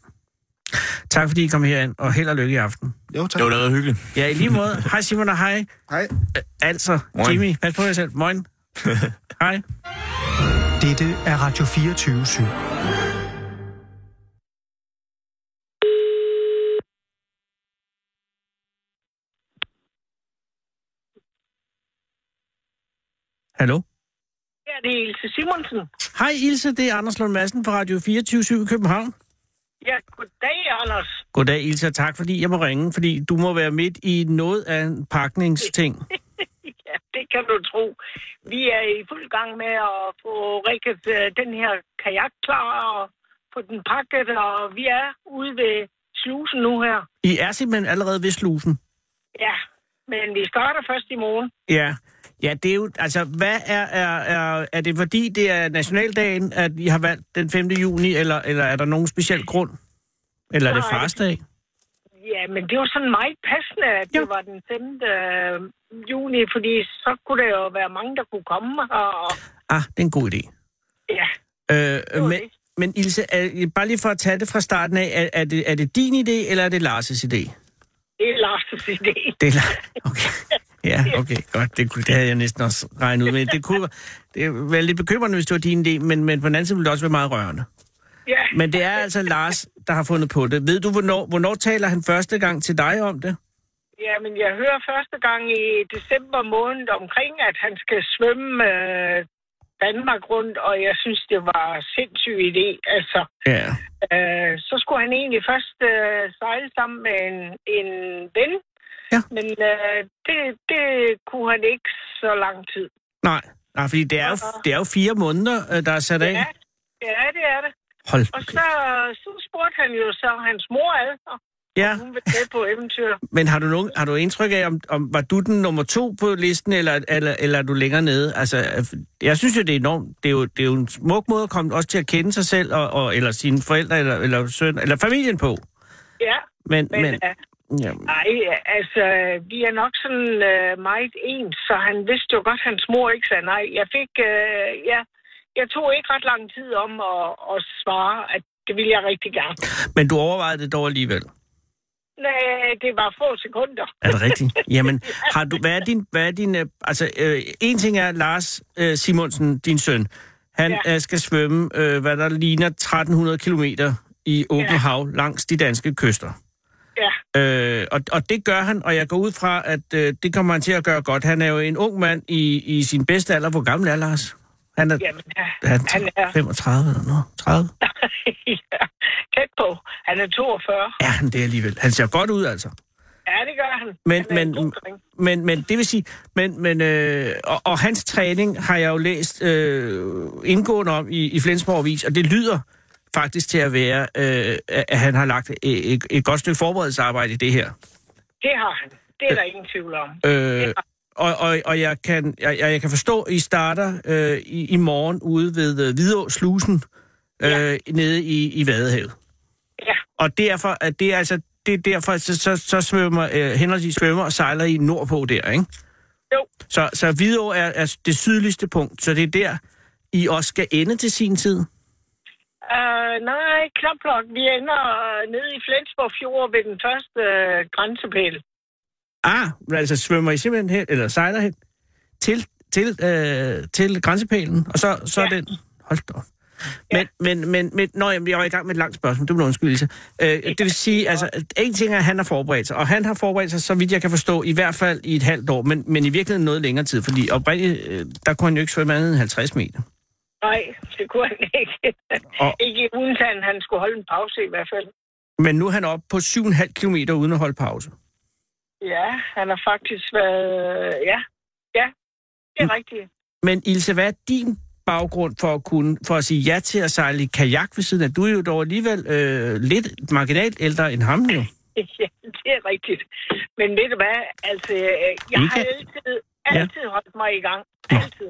Speaker 3: Tak fordi I kom herind, og held og lykke i aften.
Speaker 6: Jo, tak.
Speaker 5: Det var da været hyggeligt.
Speaker 3: Ja, i lige måde. Hej Simon og hej.
Speaker 6: Hej.
Speaker 3: Altså,
Speaker 5: Moin.
Speaker 3: Jimmy, pas på jer selv. Moin. hej.
Speaker 7: Dette er Radio 24 /7.
Speaker 3: Hallo.
Speaker 8: Ja, det er Ilse Simonsen.
Speaker 3: Hej Ilse, det er Anders Lund Madsen fra Radio 24 i København.
Speaker 8: Ja, goddag, Anders.
Speaker 3: Goddag Ilse, og tak fordi jeg må ringe, fordi du må være midt i noget af en pakningsting.
Speaker 8: Ja, det kan du tro. Vi er i fuld gang med at få rikket øh, den her kajak klar og få den pakket, og vi er ude ved slusen nu her.
Speaker 3: I er simpelthen allerede ved slusen.
Speaker 8: Ja, men vi starter først i morgen.
Speaker 3: Ja. Ja, det er jo, altså, hvad er, er, er, er det fordi, det er nationaldagen, at I har valgt den 5. juni, eller, eller er der nogen speciel grund? Eller er det
Speaker 8: Nej.
Speaker 3: farsdag?
Speaker 8: Ja, men det var sådan meget passende, at det
Speaker 3: Ja.
Speaker 8: var den 5. øh, juni, fordi så kunne der jo være mange, der kunne komme her. Og,
Speaker 3: Ah, det er en god idé.
Speaker 8: ja,
Speaker 3: Øh,
Speaker 8: var
Speaker 3: men,
Speaker 8: det.
Speaker 3: men Ilse, er, bare lige for at tage det fra starten af, er, er, det, er det din idé, eller er det Lars' idé?
Speaker 8: det er Lars' idé.
Speaker 3: Det er Lars. Okay. Ja, okay, godt. Det, kunne, det havde jeg næsten også regnet ud med. Det kunne det være lidt bekymrende, hvis det var din idé, men, men på den anden side ville det også være meget rørende.
Speaker 8: Ja,
Speaker 3: Men det er altså Lars, der har fundet på det. Ved du, hvornår, hvornår taler han første gang til dig om det?
Speaker 8: ja, men jeg hører første gang i december måned omkring, at han skal svømme øh, Danmark rundt, og jeg synes, det var sindssyg idé. Altså,
Speaker 3: Ja.
Speaker 8: øh, så skulle han egentlig først øh, sejle sammen med en, en ven,
Speaker 3: Ja.
Speaker 8: men øh, det, det kunne han ikke så lang tid.
Speaker 3: Nej, Nej fordi det er, jo, det er jo fire måneder, øh, der er sat af.
Speaker 8: Ja, ja det er det.
Speaker 3: Hold
Speaker 8: Og så, så spurgte han jo så hans mor ad, og
Speaker 3: Ja,
Speaker 8: hun ville med på eventyr.
Speaker 3: men har du, nogen, har du indtryk af, om, om, var du den nummer to på listen, eller, eller, eller er du længere nede? Altså, øh, jeg synes jo, det er enormt. Det er jo, det er jo en smuk måde at komme også til at kende sig selv, og, og, eller sine forældre, eller, eller søn, eller familien på.
Speaker 8: Ja,
Speaker 3: Men,
Speaker 8: men,
Speaker 3: men,
Speaker 8: men øh,
Speaker 3: ja,
Speaker 8: nej, altså, vi er nok sådan øh, meget ens, så han vidste jo godt, at hans mor ikke sagde nej. Jeg fik, øh, ja, jeg tog ikke ret lang tid om at, at svare, at det ville jeg rigtig gerne.
Speaker 3: men du overvejede det dog alligevel.
Speaker 8: Nej, det var få sekunder.
Speaker 3: Er det rigtigt? Jamen, har du, hvad er din... Hvad er din øh, altså, øh, en ting er Lars øh, Simonsen, din søn. Han ja.
Speaker 8: Ja.
Speaker 3: øh, skal svømme, øh, hvad der ligner 1300 kilometer i åbent ja.
Speaker 8: Ja.
Speaker 3: hav langs de danske kyster.
Speaker 8: Ja,
Speaker 3: Øh, og, og det gør han, og jeg går ud fra, at øh, det kommer han til at gøre godt. Han er jo en ung mand i, i sin bedste alder. Hvor gammel er Lars? Han er,
Speaker 8: jamen,
Speaker 3: han,
Speaker 8: han
Speaker 3: er
Speaker 8: er-
Speaker 3: 35 eller noget. 30?
Speaker 8: ja, tæt på. Han er 42.
Speaker 3: Er han det alligevel? Han ser godt ud, altså.
Speaker 8: Ja, det gør han.
Speaker 3: Men-
Speaker 8: han er en
Speaker 3: men-
Speaker 8: god dreng.
Speaker 3: Men, men det vil sige, men, men, øh, og, og hans træning har jeg jo læst øh, indgående om i, i Flensborg Avis, og det lyder faktisk til at være, øh, at at han har lagt et, et, et godt stykke forberedelsesarbejde i det her.
Speaker 8: Det har han. Det er der ingen tvivl om.
Speaker 3: Øh, og, og, og jeg kan, jeg, jeg jeg kan forstå, at I starter øh, i, i morgen ude ved øh, Hvidå Slusen øh, ja. nede i, i Vadehavet.
Speaker 8: Ja.
Speaker 3: Og derfor, at det er altså, det er derfor så, så, så svømmer, øh, henholdsvis svømmer og sejler I nordpå der, ikke?
Speaker 8: Jo.
Speaker 3: Så, så Hvidå er, er det sydligste punkt, så det er der, I også skal ende til sin tid.
Speaker 8: Uh, nej, knap nok. Vi ender øh, nede i Flensborg Fjord ved den første uh, grænsepæl.
Speaker 3: Ah, men altså svømmer I simpelthen hen, eller sejler hen til, til, øh, til grænsepælen, og så, så ja.
Speaker 8: Ja.
Speaker 3: den... Hold da op. Men, men, men, men, nå, jamen, jeg var i gang med et langt spørgsmål, det var en undskyldelse. Øh, det vil sige, altså, en ting er, at han har forberedt sig, og han har forberedt sig, så vidt jeg kan forstå, i hvert fald i et halvt år, men, men i virkeligheden noget længere tid, fordi oprindeligt, øh, der kunne han jo ikke svømme andet end 50 meter.
Speaker 8: Nej, det kunne han ikke.
Speaker 3: Og-
Speaker 8: ikke uden han, han skulle holde en pause i hvert fald.
Speaker 3: Men nu er han oppe på 7,5 km uden at holde pause.
Speaker 8: Ja, han har faktisk været... øh, Ja, ja, det er rigtigt.
Speaker 3: Men Ilse, hvad er din baggrund for at, kunne, for at sige ja til at sejle i kajak ved siden af? Du er jo dog alligevel øh, lidt marginalt ældre end ham jo.
Speaker 8: Ja, det er rigtigt. Men ved du hvad? Altså, øh, jeg har
Speaker 3: Ikke-
Speaker 8: altid, altid ja. holdt mig i gang. Altid.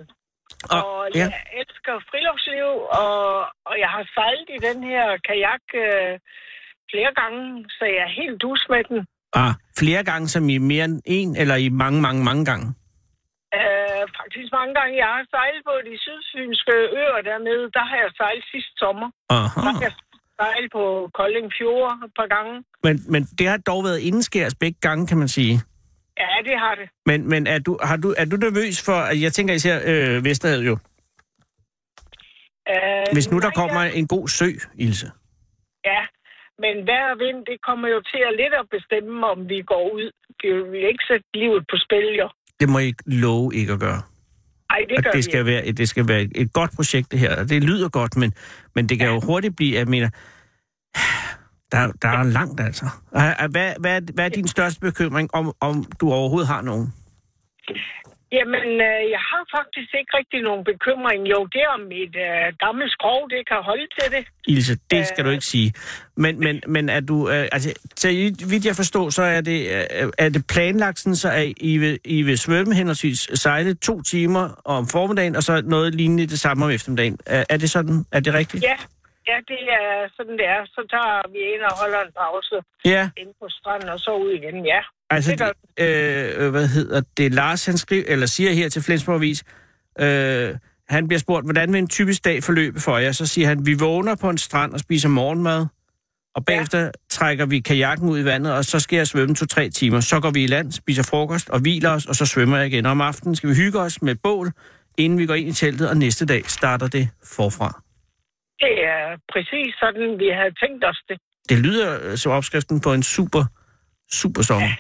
Speaker 3: Og-
Speaker 8: Og, og
Speaker 3: ja.
Speaker 8: jeg elsker friluftsliv, og, og jeg har sejlet i den her kajak øh, flere gange, så jeg er helt dus med den.
Speaker 3: Ah, flere gange som i mere end en, eller i mange, mange, mange gange.
Speaker 8: Øh, faktisk mange gange, jeg har sejlet på de sydfynske øer dernede, der har jeg sejlet sidste sommer. Der
Speaker 3: Aha.
Speaker 8: har jeg sejlet på Kolding Fjord et par gange.
Speaker 3: Men, men det har dog været indskærs begge gange, kan man sige.
Speaker 8: Ja, det har det.
Speaker 3: Men, men er, du, har du, er du nervøs for, at jeg tænker især øh, Vesterhavet jo,
Speaker 8: Øh,
Speaker 3: hvis nu der
Speaker 8: nej,
Speaker 3: kommer
Speaker 8: jeg-
Speaker 3: en god sø, Ilse?
Speaker 8: Ja, men vejr og vind, det kommer jo til at lidt at bestemme, om vi går ud. Vi vil ikke sætte livet på spil, jo.
Speaker 3: Det må I ikke love ikke at gøre.
Speaker 8: Ej, det gør
Speaker 3: og det
Speaker 8: vi
Speaker 3: skal, være, et- det skal være et- et godt projekt, det her. Og det lyder godt, men, men det kan jo hurtigt blive, jeg mener, der, der er langt altså. Og- og Hvad, hvad, er- hvad er din største bekymring, om, om du overhovedet har nogen?
Speaker 8: ikke. Jamen, øh, jeg har faktisk ikke rigtig nogen bekymring. Jo, det er om et øh, gammelt skrog, det kan holde til det.
Speaker 3: Ilse, det skal du
Speaker 8: Øh.
Speaker 3: ikke sige. Men, men, men er du, øh, altså, så vidt jeg forstår, så er det, øh, er det planlagt sådan, så at I vil, I vil svømme henholdsvis sejle to timer om formiddagen, og så noget lignende det samme om eftermiddagen. Er, er det sådan? Er det rigtigt?
Speaker 8: Ja, ja, det er sådan, det er. Så tager vi ind og holder en pause
Speaker 3: Ja.
Speaker 8: inde på stranden, og så ud igen, ja.
Speaker 3: Altså,
Speaker 8: Det gør
Speaker 3: det øh, øh, hvad hedder det? Lars, han skriver, eller siger her til Flensborg Avis, øh, han bliver spurgt, hvordan vil en typisk dag forløbe for jer? Så siger han, vi vågner på en strand og spiser morgenmad, og bagefter ja. trækker vi kajakken ud i vandet, og så skal jeg svømme to-tre timer. Så går vi i land, spiser frokost og hviler os, og så svømmer jeg igen. Om aftenen skal vi hygge os med bål, inden vi går ind i teltet, og næste dag starter det forfra.
Speaker 8: Det er præcis sådan, vi havde tænkt os det.
Speaker 3: Det lyder øh, som opskriften på en super, super sommer. Ja.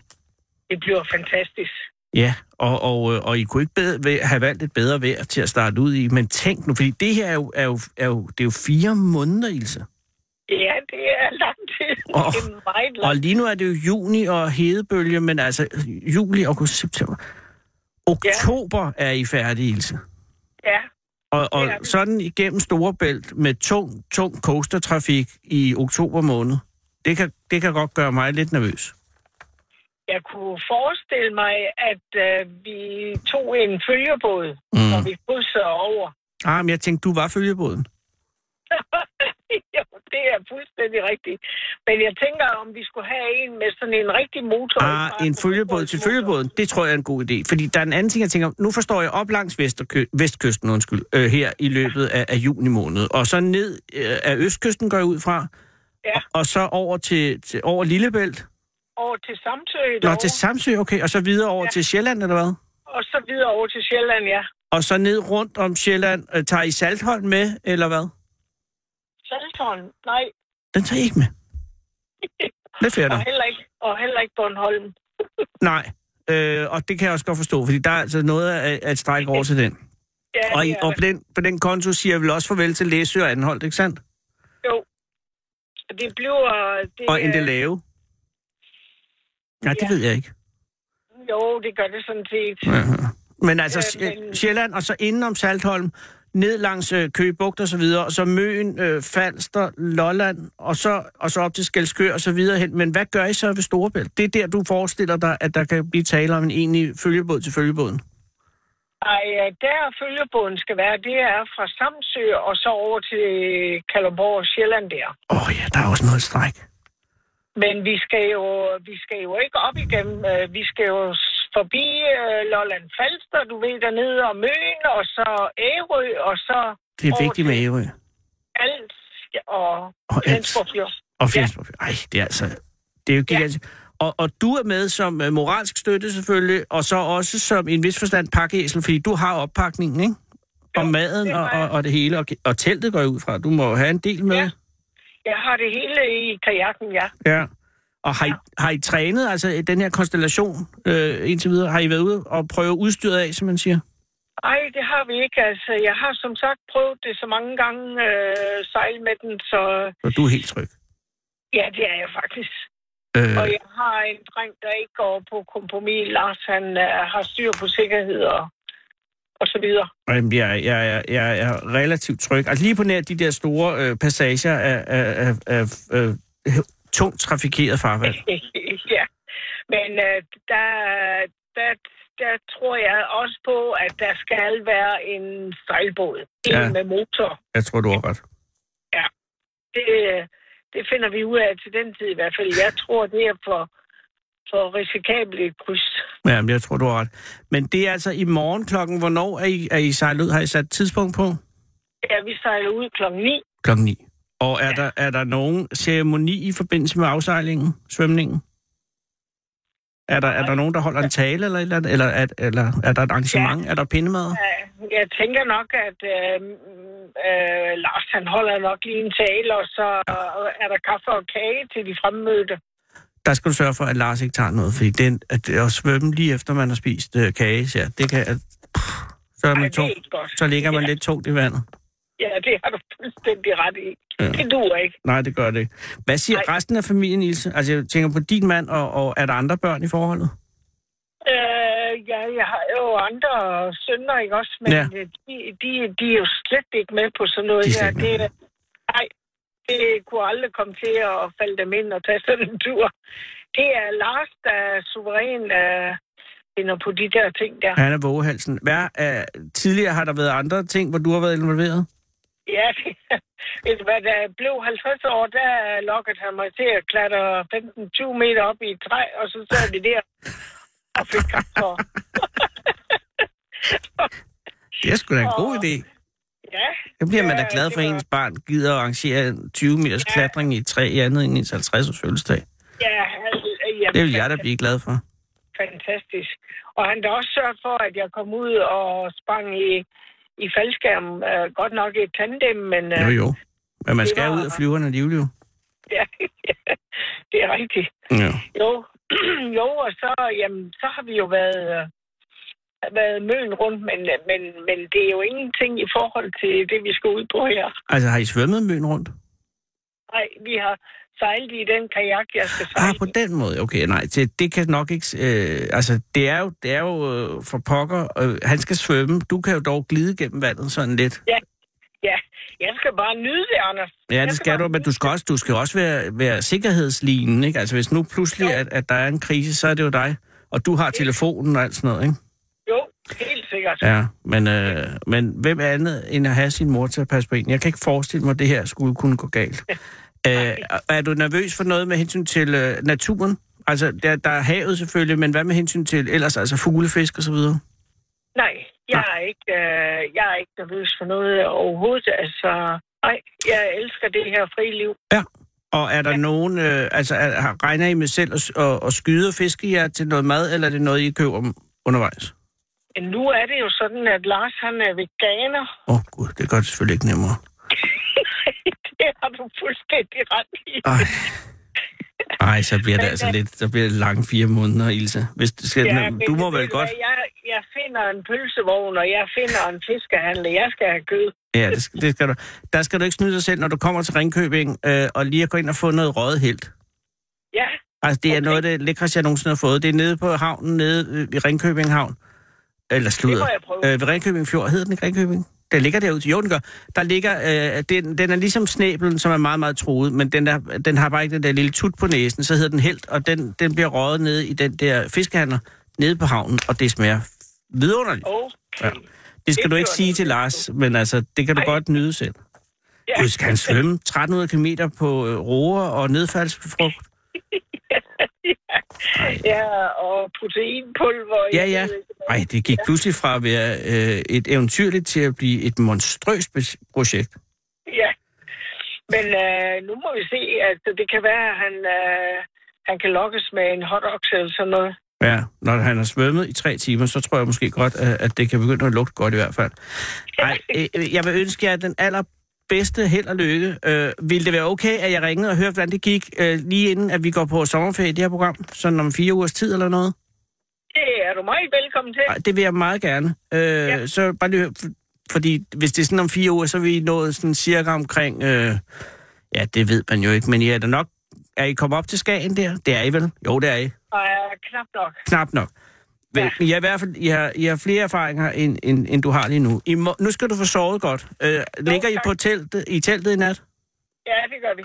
Speaker 8: Det bliver fantastisk.
Speaker 3: Ja, og, og, øh, og I kunne ikke bedre, ved- have valgt et bedre vejr til at starte ud i, men tænk nu, fordi det her er jo, er jo, er jo, det er jo fire måneder, Ilse.
Speaker 8: Ja, det er lang tid.
Speaker 3: Åh,
Speaker 8: det er meget lang
Speaker 3: Og lige nu er det jo juni og hedebølge, men altså juli, august, september. Oktober ja. er I færdige, Ilse.
Speaker 8: Ja,
Speaker 3: Og, og
Speaker 8: Det er vi.
Speaker 3: sådan igennem Storebælt med tung, tung coastertrafik i oktober måned, det kan, det kan godt gøre mig lidt nervøs.
Speaker 8: jeg kunne forestille mig, at øh, vi tog en følgebåd, mm. når vi krydsede over.
Speaker 3: Ah, men jeg tænkte, du var følgebåden.
Speaker 8: jo, det er fuldstændig rigtigt. Men jeg tænker, om vi skulle have en med sådan en rigtig motor.
Speaker 3: Ah, en følgebåd til følgebåden, det tror jeg er en god idé. Fordi der er en anden ting, jeg tænker, nu forstår jeg op langs Vesterkø- vestkysten undskyld, øh, her i løbet af, af juni måned. Og så ned øh, af østkysten går jeg ud fra.
Speaker 8: Ja.
Speaker 3: Og så over til, til over Lillebælt.
Speaker 8: Over til Samsø,
Speaker 3: Nå,
Speaker 8: derovre,
Speaker 3: til Samsø, okay. Og så videre over ja. til Sjælland, eller hvad?
Speaker 8: og så videre over til Sjælland, ja.
Speaker 3: Og så ned rundt om Sjælland. Øh, tager I Saltholm med, eller hvad?
Speaker 8: Saltholm, nej,
Speaker 3: Den tager I ikke med. Det fair
Speaker 8: og
Speaker 3: nok.
Speaker 8: heller ikke, og heller ikke Bornholm.
Speaker 3: Nej. Øh, og det kan jeg også godt forstå, fordi der er altså noget at, at strække over til den.
Speaker 8: Ja,
Speaker 3: Og, i,
Speaker 8: det er
Speaker 3: og
Speaker 8: det.
Speaker 3: på, den, på den konto siger jeg vel også farvel til Læsø og Anholdt, ikke sandt?
Speaker 8: Jo. Det bliver... Det,
Speaker 3: Og en
Speaker 8: er-
Speaker 3: det lave. Nej, det
Speaker 8: Ja.
Speaker 3: ved jeg ikke.
Speaker 8: Jo, det gør det sådan set.
Speaker 3: Ja. Men altså,
Speaker 8: Øh,
Speaker 3: Sj-
Speaker 8: men-
Speaker 3: Sjælland, og så inden om Saltholm, ned langs øh, Køge Bugt og så videre, og så Møen, øh, Falster, Lolland, og så, og så op til Skelskør og så videre hen. Men hvad gør I så ved Storebælt? Det er der, du forestiller dig, at der kan blive tale om en egentlig følgebåd til følgebåden.
Speaker 8: Ej, øh, der følgebåden skal være, det er fra Samsø og så over til Kalundborg og Sjælland der.
Speaker 3: Åh oh, ja, der er også noget stræk.
Speaker 8: Men vi skal jo, vi skal jo ikke op igennem. øh, Vi skal jo s- forbi øh, Lolland Falster, du ved, dernede og Møn, og så Ærø, og så
Speaker 3: Det er
Speaker 8: Over
Speaker 3: vigtigt med
Speaker 8: til-
Speaker 3: Ærø
Speaker 8: alt og
Speaker 3: og Als
Speaker 8: Flensborgfjord.
Speaker 3: og Flensborg. Ej, det er altså... Det er jo gigantisk. Ja. Og, og du er med som øh, moralsk støtte selvfølgelig, og så også som i en vis forstand pakkeæsel, fordi du har oppakningen, ikke? Og
Speaker 8: Jo,
Speaker 3: maden
Speaker 8: det
Speaker 3: og,
Speaker 8: har jeg.
Speaker 3: og, og det hele, og, og teltet går jeg ud fra. Du må jo have en del med.
Speaker 8: Ja. Jeg har det hele i kajakken, ja.
Speaker 3: ja. Og har I, har I trænet, altså i den her konstellation øh, indtil videre? Har I været ude og prøve udstyret af, som man siger?
Speaker 8: Ej, det har vi ikke. Altså, jeg har som sagt prøvet det så mange gange øh, sejl med den, så
Speaker 3: Og du er helt tryg.
Speaker 8: ja, det er jeg faktisk.
Speaker 3: Øh,
Speaker 8: Og jeg har en dreng, der ikke går på kompromis. Lars, han øh, har styr på sikkerhed og, og så videre.
Speaker 3: Jamen, jeg, jeg, jeg, jeg er relativt tryg. Altså lige på nær de der store øh, passager af, af, af, af, af tungt trafikeret farvand.
Speaker 8: ja, men øh, der, der, der tror jeg også på, at der skal være en sejlbåd. En
Speaker 3: Ja.
Speaker 8: ja. med motor.
Speaker 3: Jeg tror, du har ret.
Speaker 8: Det, det finder vi ud af til den tid i hvert fald. Jeg tror, det er for, for risikabelt et kryds.
Speaker 3: Ja, men jeg tror, du har ret. Men det er altså i morgen klokken. Hvornår er I, er I sejlet ud? Har I sat tidspunkt på?
Speaker 8: Ja, vi sejler ud klokken 9.
Speaker 3: Klokken 9. Og er, ja. der, er der nogen ceremoni i forbindelse med afsejlingen, svømningen? Er der, er der nogen, der holder en tale, eller, et eller, andet? eller, er, eller er der et arrangement? Ja. Er der pindemad?
Speaker 8: Jeg tænker nok, at øh, øh, Lars han holder nok lige en tale, og så er der kaffe og kage til de fremmødte.
Speaker 3: Der skal du sørge for, at Lars ikke tager noget, fordi den, at, at svømme lige efter, man har spist øh, kage, ja, det kan... At, pff, så, er
Speaker 8: Ej,
Speaker 3: man
Speaker 8: det er
Speaker 3: tung,
Speaker 8: ikke godt.
Speaker 3: så ligger man
Speaker 8: Ja.
Speaker 3: lidt tungt i vandet.
Speaker 8: Ja, det har du fuldstændig ret i.
Speaker 3: Ja.
Speaker 8: Ja. Det duer ikke.
Speaker 3: Nej, det gør det ikke. Hvad siger
Speaker 8: Nej.
Speaker 3: resten af familien, Ilse? Altså, jeg tænker på din mand, og, og er der andre børn i forholdet?
Speaker 8: Øh, ja, jeg har jo andre sønner, ikke også? Men
Speaker 3: Ja.
Speaker 8: ja. de, de, de er jo slet ikke med på sådan noget
Speaker 3: De er slet
Speaker 8: her.
Speaker 3: ikke
Speaker 8: Det,
Speaker 3: med.
Speaker 8: nej, det kunne aldrig komme til at falde dem ind og tage sådan en tur. Det er Lars, der er suveræn øh, finder på de der ting der.
Speaker 3: Han er vågehalsen. Hvad, uh, tidligere har der været andre ting, hvor du har været involveret?
Speaker 8: Ja, det, ved du hvad, da jeg blev 50 år, der lokkede han mig til at klatre 15-20 meter op i et træ, og så sad vi der og fik kaffe.
Speaker 3: Det er sgu da en god
Speaker 8: Åh.
Speaker 3: idé.
Speaker 8: Ja,
Speaker 3: Så bliver man da
Speaker 8: Ja,
Speaker 3: glad
Speaker 8: det
Speaker 3: for, at
Speaker 8: var-
Speaker 3: ens barn gider at arrangere en 20 meters
Speaker 8: Ja.
Speaker 3: klatring i et træ i andet end ens 50-års fødselsdag.
Speaker 8: Ja, altså, ja,
Speaker 3: Det vil jeg da blive glad for.
Speaker 8: Fantastisk. Og han har også sørget for, at jeg kom ud og sprang i, i faldskærm. Uh, godt nok i tandem, men uh,
Speaker 3: Jo, jo. Men man
Speaker 8: Det
Speaker 3: skal
Speaker 8: var-
Speaker 3: ud og flyverne alligevel jo.
Speaker 8: ja, det er rigtigt.
Speaker 3: Ja.
Speaker 8: Jo, jo og så, jamen, så har vi jo været, øh, været møen rundt, men, øh, men, men det er jo ingenting i forhold til det, vi skal ud på her.
Speaker 3: Altså, har I svømmet møn rundt?
Speaker 8: Nej, vi har sejlet i den kajak, jeg skal
Speaker 3: Ah,
Speaker 8: sejle.
Speaker 3: på den måde. Okay, nej, det, det kan nok ikke... Øh, altså, det er jo, det er jo øh, for pokker. Øh, han skal svømme. Du kan jo dog glide gennem vandet sådan lidt.
Speaker 8: Ja, jeg skal bare nyde det, Anders.
Speaker 3: Ja,
Speaker 8: Jeg
Speaker 3: det skal
Speaker 8: bare
Speaker 3: du, men du
Speaker 8: nyde
Speaker 3: skal også, du skal også være, være sikkerhedslinjen, ikke? Altså, hvis nu pludselig,
Speaker 8: Jo.
Speaker 3: at, at der er en krise, så er det jo dig. Og du har telefonen og alt sådan noget, ikke?
Speaker 8: det. Jo, helt sikkert.
Speaker 3: Ja, men, øh, men hvem andet end at have sin mor til at passe på en? Jeg kan ikke forestille mig, at det her skulle kunne gå galt. Øh, er du nervøs for noget med hensyn til øh, naturen? Altså, der, der er havet selvfølgelig, men hvad med hensyn til ellers, altså fuglefisk og så videre?
Speaker 8: Nej, jeg er, ikke, øh, jeg er ikke nervøs for noget overhovedet. Altså, nej, jeg elsker det her frie liv.
Speaker 3: Og er der ja. nogen, øh, altså er, har- regner I med selv at, s- at, at skyde og fiske jer til noget mad, eller er det noget, I køber m- undervejs?
Speaker 8: Men nu er det jo sådan, at Lars han er veganer.
Speaker 3: Åh oh, gud, det gør det selvfølgelig ikke nemmere.
Speaker 8: det har du fuldstændig ret i.
Speaker 3: Ej. Ej, så bliver det altså lidt, så bliver det lange fire måneder, Ilse. Hvis det skal, ja,
Speaker 8: men
Speaker 3: du må
Speaker 8: ved
Speaker 3: vel
Speaker 8: hvad,
Speaker 3: godt...
Speaker 8: Jeg, jeg finder en pølsevogn, og jeg finder en fiskehandler. Jeg skal have kød.
Speaker 3: Ja, det, skal- det skal du. Der skal du ikke snyde dig selv, når du kommer til Ringkøbing, øh, og lige at gå ind og få noget røget helt.
Speaker 8: Ja,
Speaker 3: Altså, det er okay.
Speaker 8: Okay.
Speaker 3: noget af det lækreste, jeg nogensinde har fået. Det er nede på havnen, nede øh, i Ringkøbing Havn. Eller
Speaker 8: det må
Speaker 3: sludder.
Speaker 8: jeg prøve.
Speaker 3: Øh, ved Ringkøbing Fjord. Hedder den ikke Ringkøbing? Den ligger derude. Jo, den gør. Der ligger, øh, den, den er ligesom snæblen, som er meget, meget truet, men den, der, den har bare ikke den der lille tut på næsen, så hedder den helt, og den, den bliver røget nede i den der fiskehandler nede på havnen, og det smager vidunderligt.
Speaker 8: Okay.
Speaker 3: Ja. Det skal
Speaker 8: Det
Speaker 3: du ikke
Speaker 8: gør
Speaker 3: sige
Speaker 8: noget.
Speaker 3: til Lars, men altså, det kan du
Speaker 8: Nej.
Speaker 3: godt nyde selv.
Speaker 8: Ja.
Speaker 3: Du skal han svømme 1300 km på øh, roer og nedfaldsfrugt.
Speaker 8: ja, og proteinpulver.
Speaker 3: Ja,
Speaker 8: jeg
Speaker 3: ja.
Speaker 8: ved ikke hvad.
Speaker 3: Nej, det gik pludselig fra at være øh, et eventyrligt til at blive et monstrøst be- projekt.
Speaker 8: Ja. Men øh, nu må vi se, at det kan være, at han, øh, han kan lokkes med en hotdog eller sådan noget.
Speaker 3: Ja, når han har svømmet i tre timer, så tror jeg måske godt, at at det kan begynde at lugte godt i hvert fald. Nej, øh, jeg vil ønske jer den allerbedste held og lykke. Øh, ville det være okay, at jeg ringede og hørte, hvordan det gik, øh, lige inden at vi går på sommerferie i det her program? Sådan om fire ugers tid eller noget?
Speaker 8: Det er du meget velkommen til.
Speaker 3: Ej, det vil jeg meget gerne. Øh, ja.
Speaker 8: Ja.
Speaker 3: Så bare lige hør, f- fordi hvis det er sådan om fire uger, så er vi nået sådan cirka omkring, øh, ja, det ved man jo ikke, men I er da nok, er I kommet op til Skagen der? Det er I vel? Jo, det er I.
Speaker 8: Og er knap nok.
Speaker 3: Knap nok. Vel, ja. I, er i hvert fald, I, har, I har flere erfaringer, end, end, end du har lige nu. I må, nu skal du få sovet godt. Øh, ligger I
Speaker 8: tak.
Speaker 3: på teltet, i teltet i nat?
Speaker 8: Ja, det gør vi.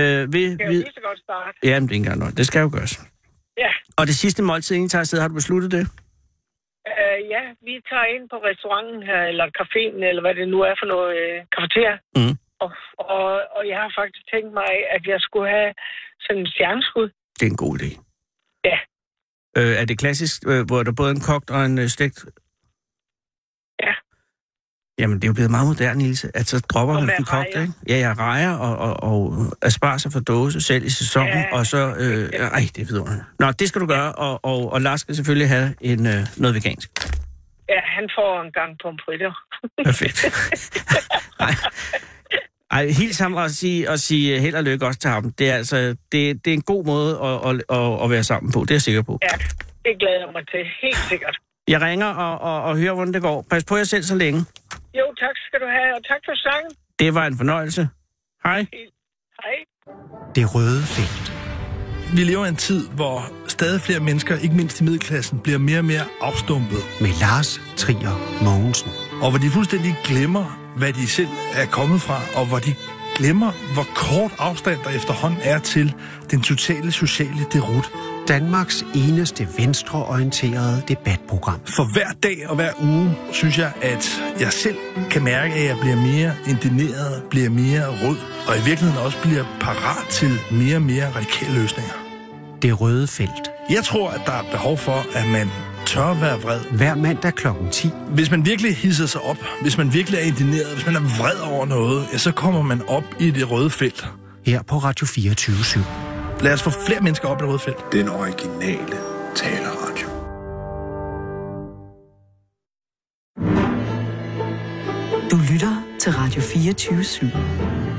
Speaker 3: Øh, ved,
Speaker 8: Det kan jo
Speaker 3: ved,
Speaker 8: lige så godt starte.
Speaker 3: jamen, det er ikke engang noget. Det skal jo gøres.
Speaker 8: Ja.
Speaker 3: Og det sidste måltid, inden I tager afsted, har du besluttet det?
Speaker 8: Øh, ja, vi tager ind på restauranten her, eller caféen, eller hvad det nu er for noget øh, kafeter.
Speaker 3: Mm.
Speaker 8: Og, og, og jeg har faktisk tænkt mig, at jeg skulle have sådan en stjerneskud.
Speaker 3: Det er en god idé.
Speaker 8: Ja.
Speaker 3: Øh, er det klassisk, øh, hvor der både er en kogt og en øh, stegt?
Speaker 8: Ja.
Speaker 3: Jamen, det er jo blevet meget moderne, Ilse. Altså, At så dropper
Speaker 8: Og
Speaker 3: man
Speaker 8: med
Speaker 3: den kogte,
Speaker 8: rejer.
Speaker 3: ikke? Ja, ja, rejer og, og, og asparges for dåse selv i sæsonen, ja.
Speaker 8: Ja.
Speaker 3: og så... Øh, ej, det er vidunderligt. Nå, det skal du gøre, og, og, og Lars skal selvfølgelig have en, øh, noget vegansk.
Speaker 8: Ja, han får en gang pomfritter.
Speaker 3: Perfekt. Ej. Ej, hils ham og sige, og sige held og lykke også til ham. Det er, altså, det, det er en god måde at, at, at, at være sammen på, det er jeg sikker på.
Speaker 8: Ja, det glæder jeg mig til. Helt sikkert.
Speaker 3: Jeg ringer og, og, og hører, hvordan det går. Pas på jer selv så længe.
Speaker 8: Jo, tak skal du have, og tak for sangen.
Speaker 3: Det var en fornøjelse. Hej.
Speaker 8: Hej.
Speaker 7: Det røde felt.
Speaker 9: Vi lever i en tid, hvor stadig flere mennesker, ikke mindst i middelklassen, bliver mere og mere afstumpet.
Speaker 7: Med Lars Trier Mogensen.
Speaker 9: Og hvor de fuldstændig glemmer, hvad de selv er kommet fra, og hvor de glemmer, hvor kort afstand der efterhånden er til den totale sociale derut.
Speaker 7: Danmarks eneste venstreorienterede debatprogram.
Speaker 9: For hver dag og hver uge, synes jeg, at jeg selv kan mærke, at jeg bliver mere indineret, bliver mere rød, og i virkeligheden også bliver parat til mere og mere radikale løsninger.
Speaker 7: Det røde felt.
Speaker 9: Jeg tror, at der er behov for, at man tør være vred.
Speaker 7: Hver mandag kl. 10.
Speaker 9: Hvis man virkelig hisser sig op, hvis man virkelig er indineret, hvis man er vred over noget, ja, så kommer man op i det røde felt.
Speaker 7: Her på Radio 24 7.
Speaker 9: Lad os få flere mennesker op i det røde felt.
Speaker 10: Den originale taleradio.
Speaker 1: Du lytter til Radio 24 /7.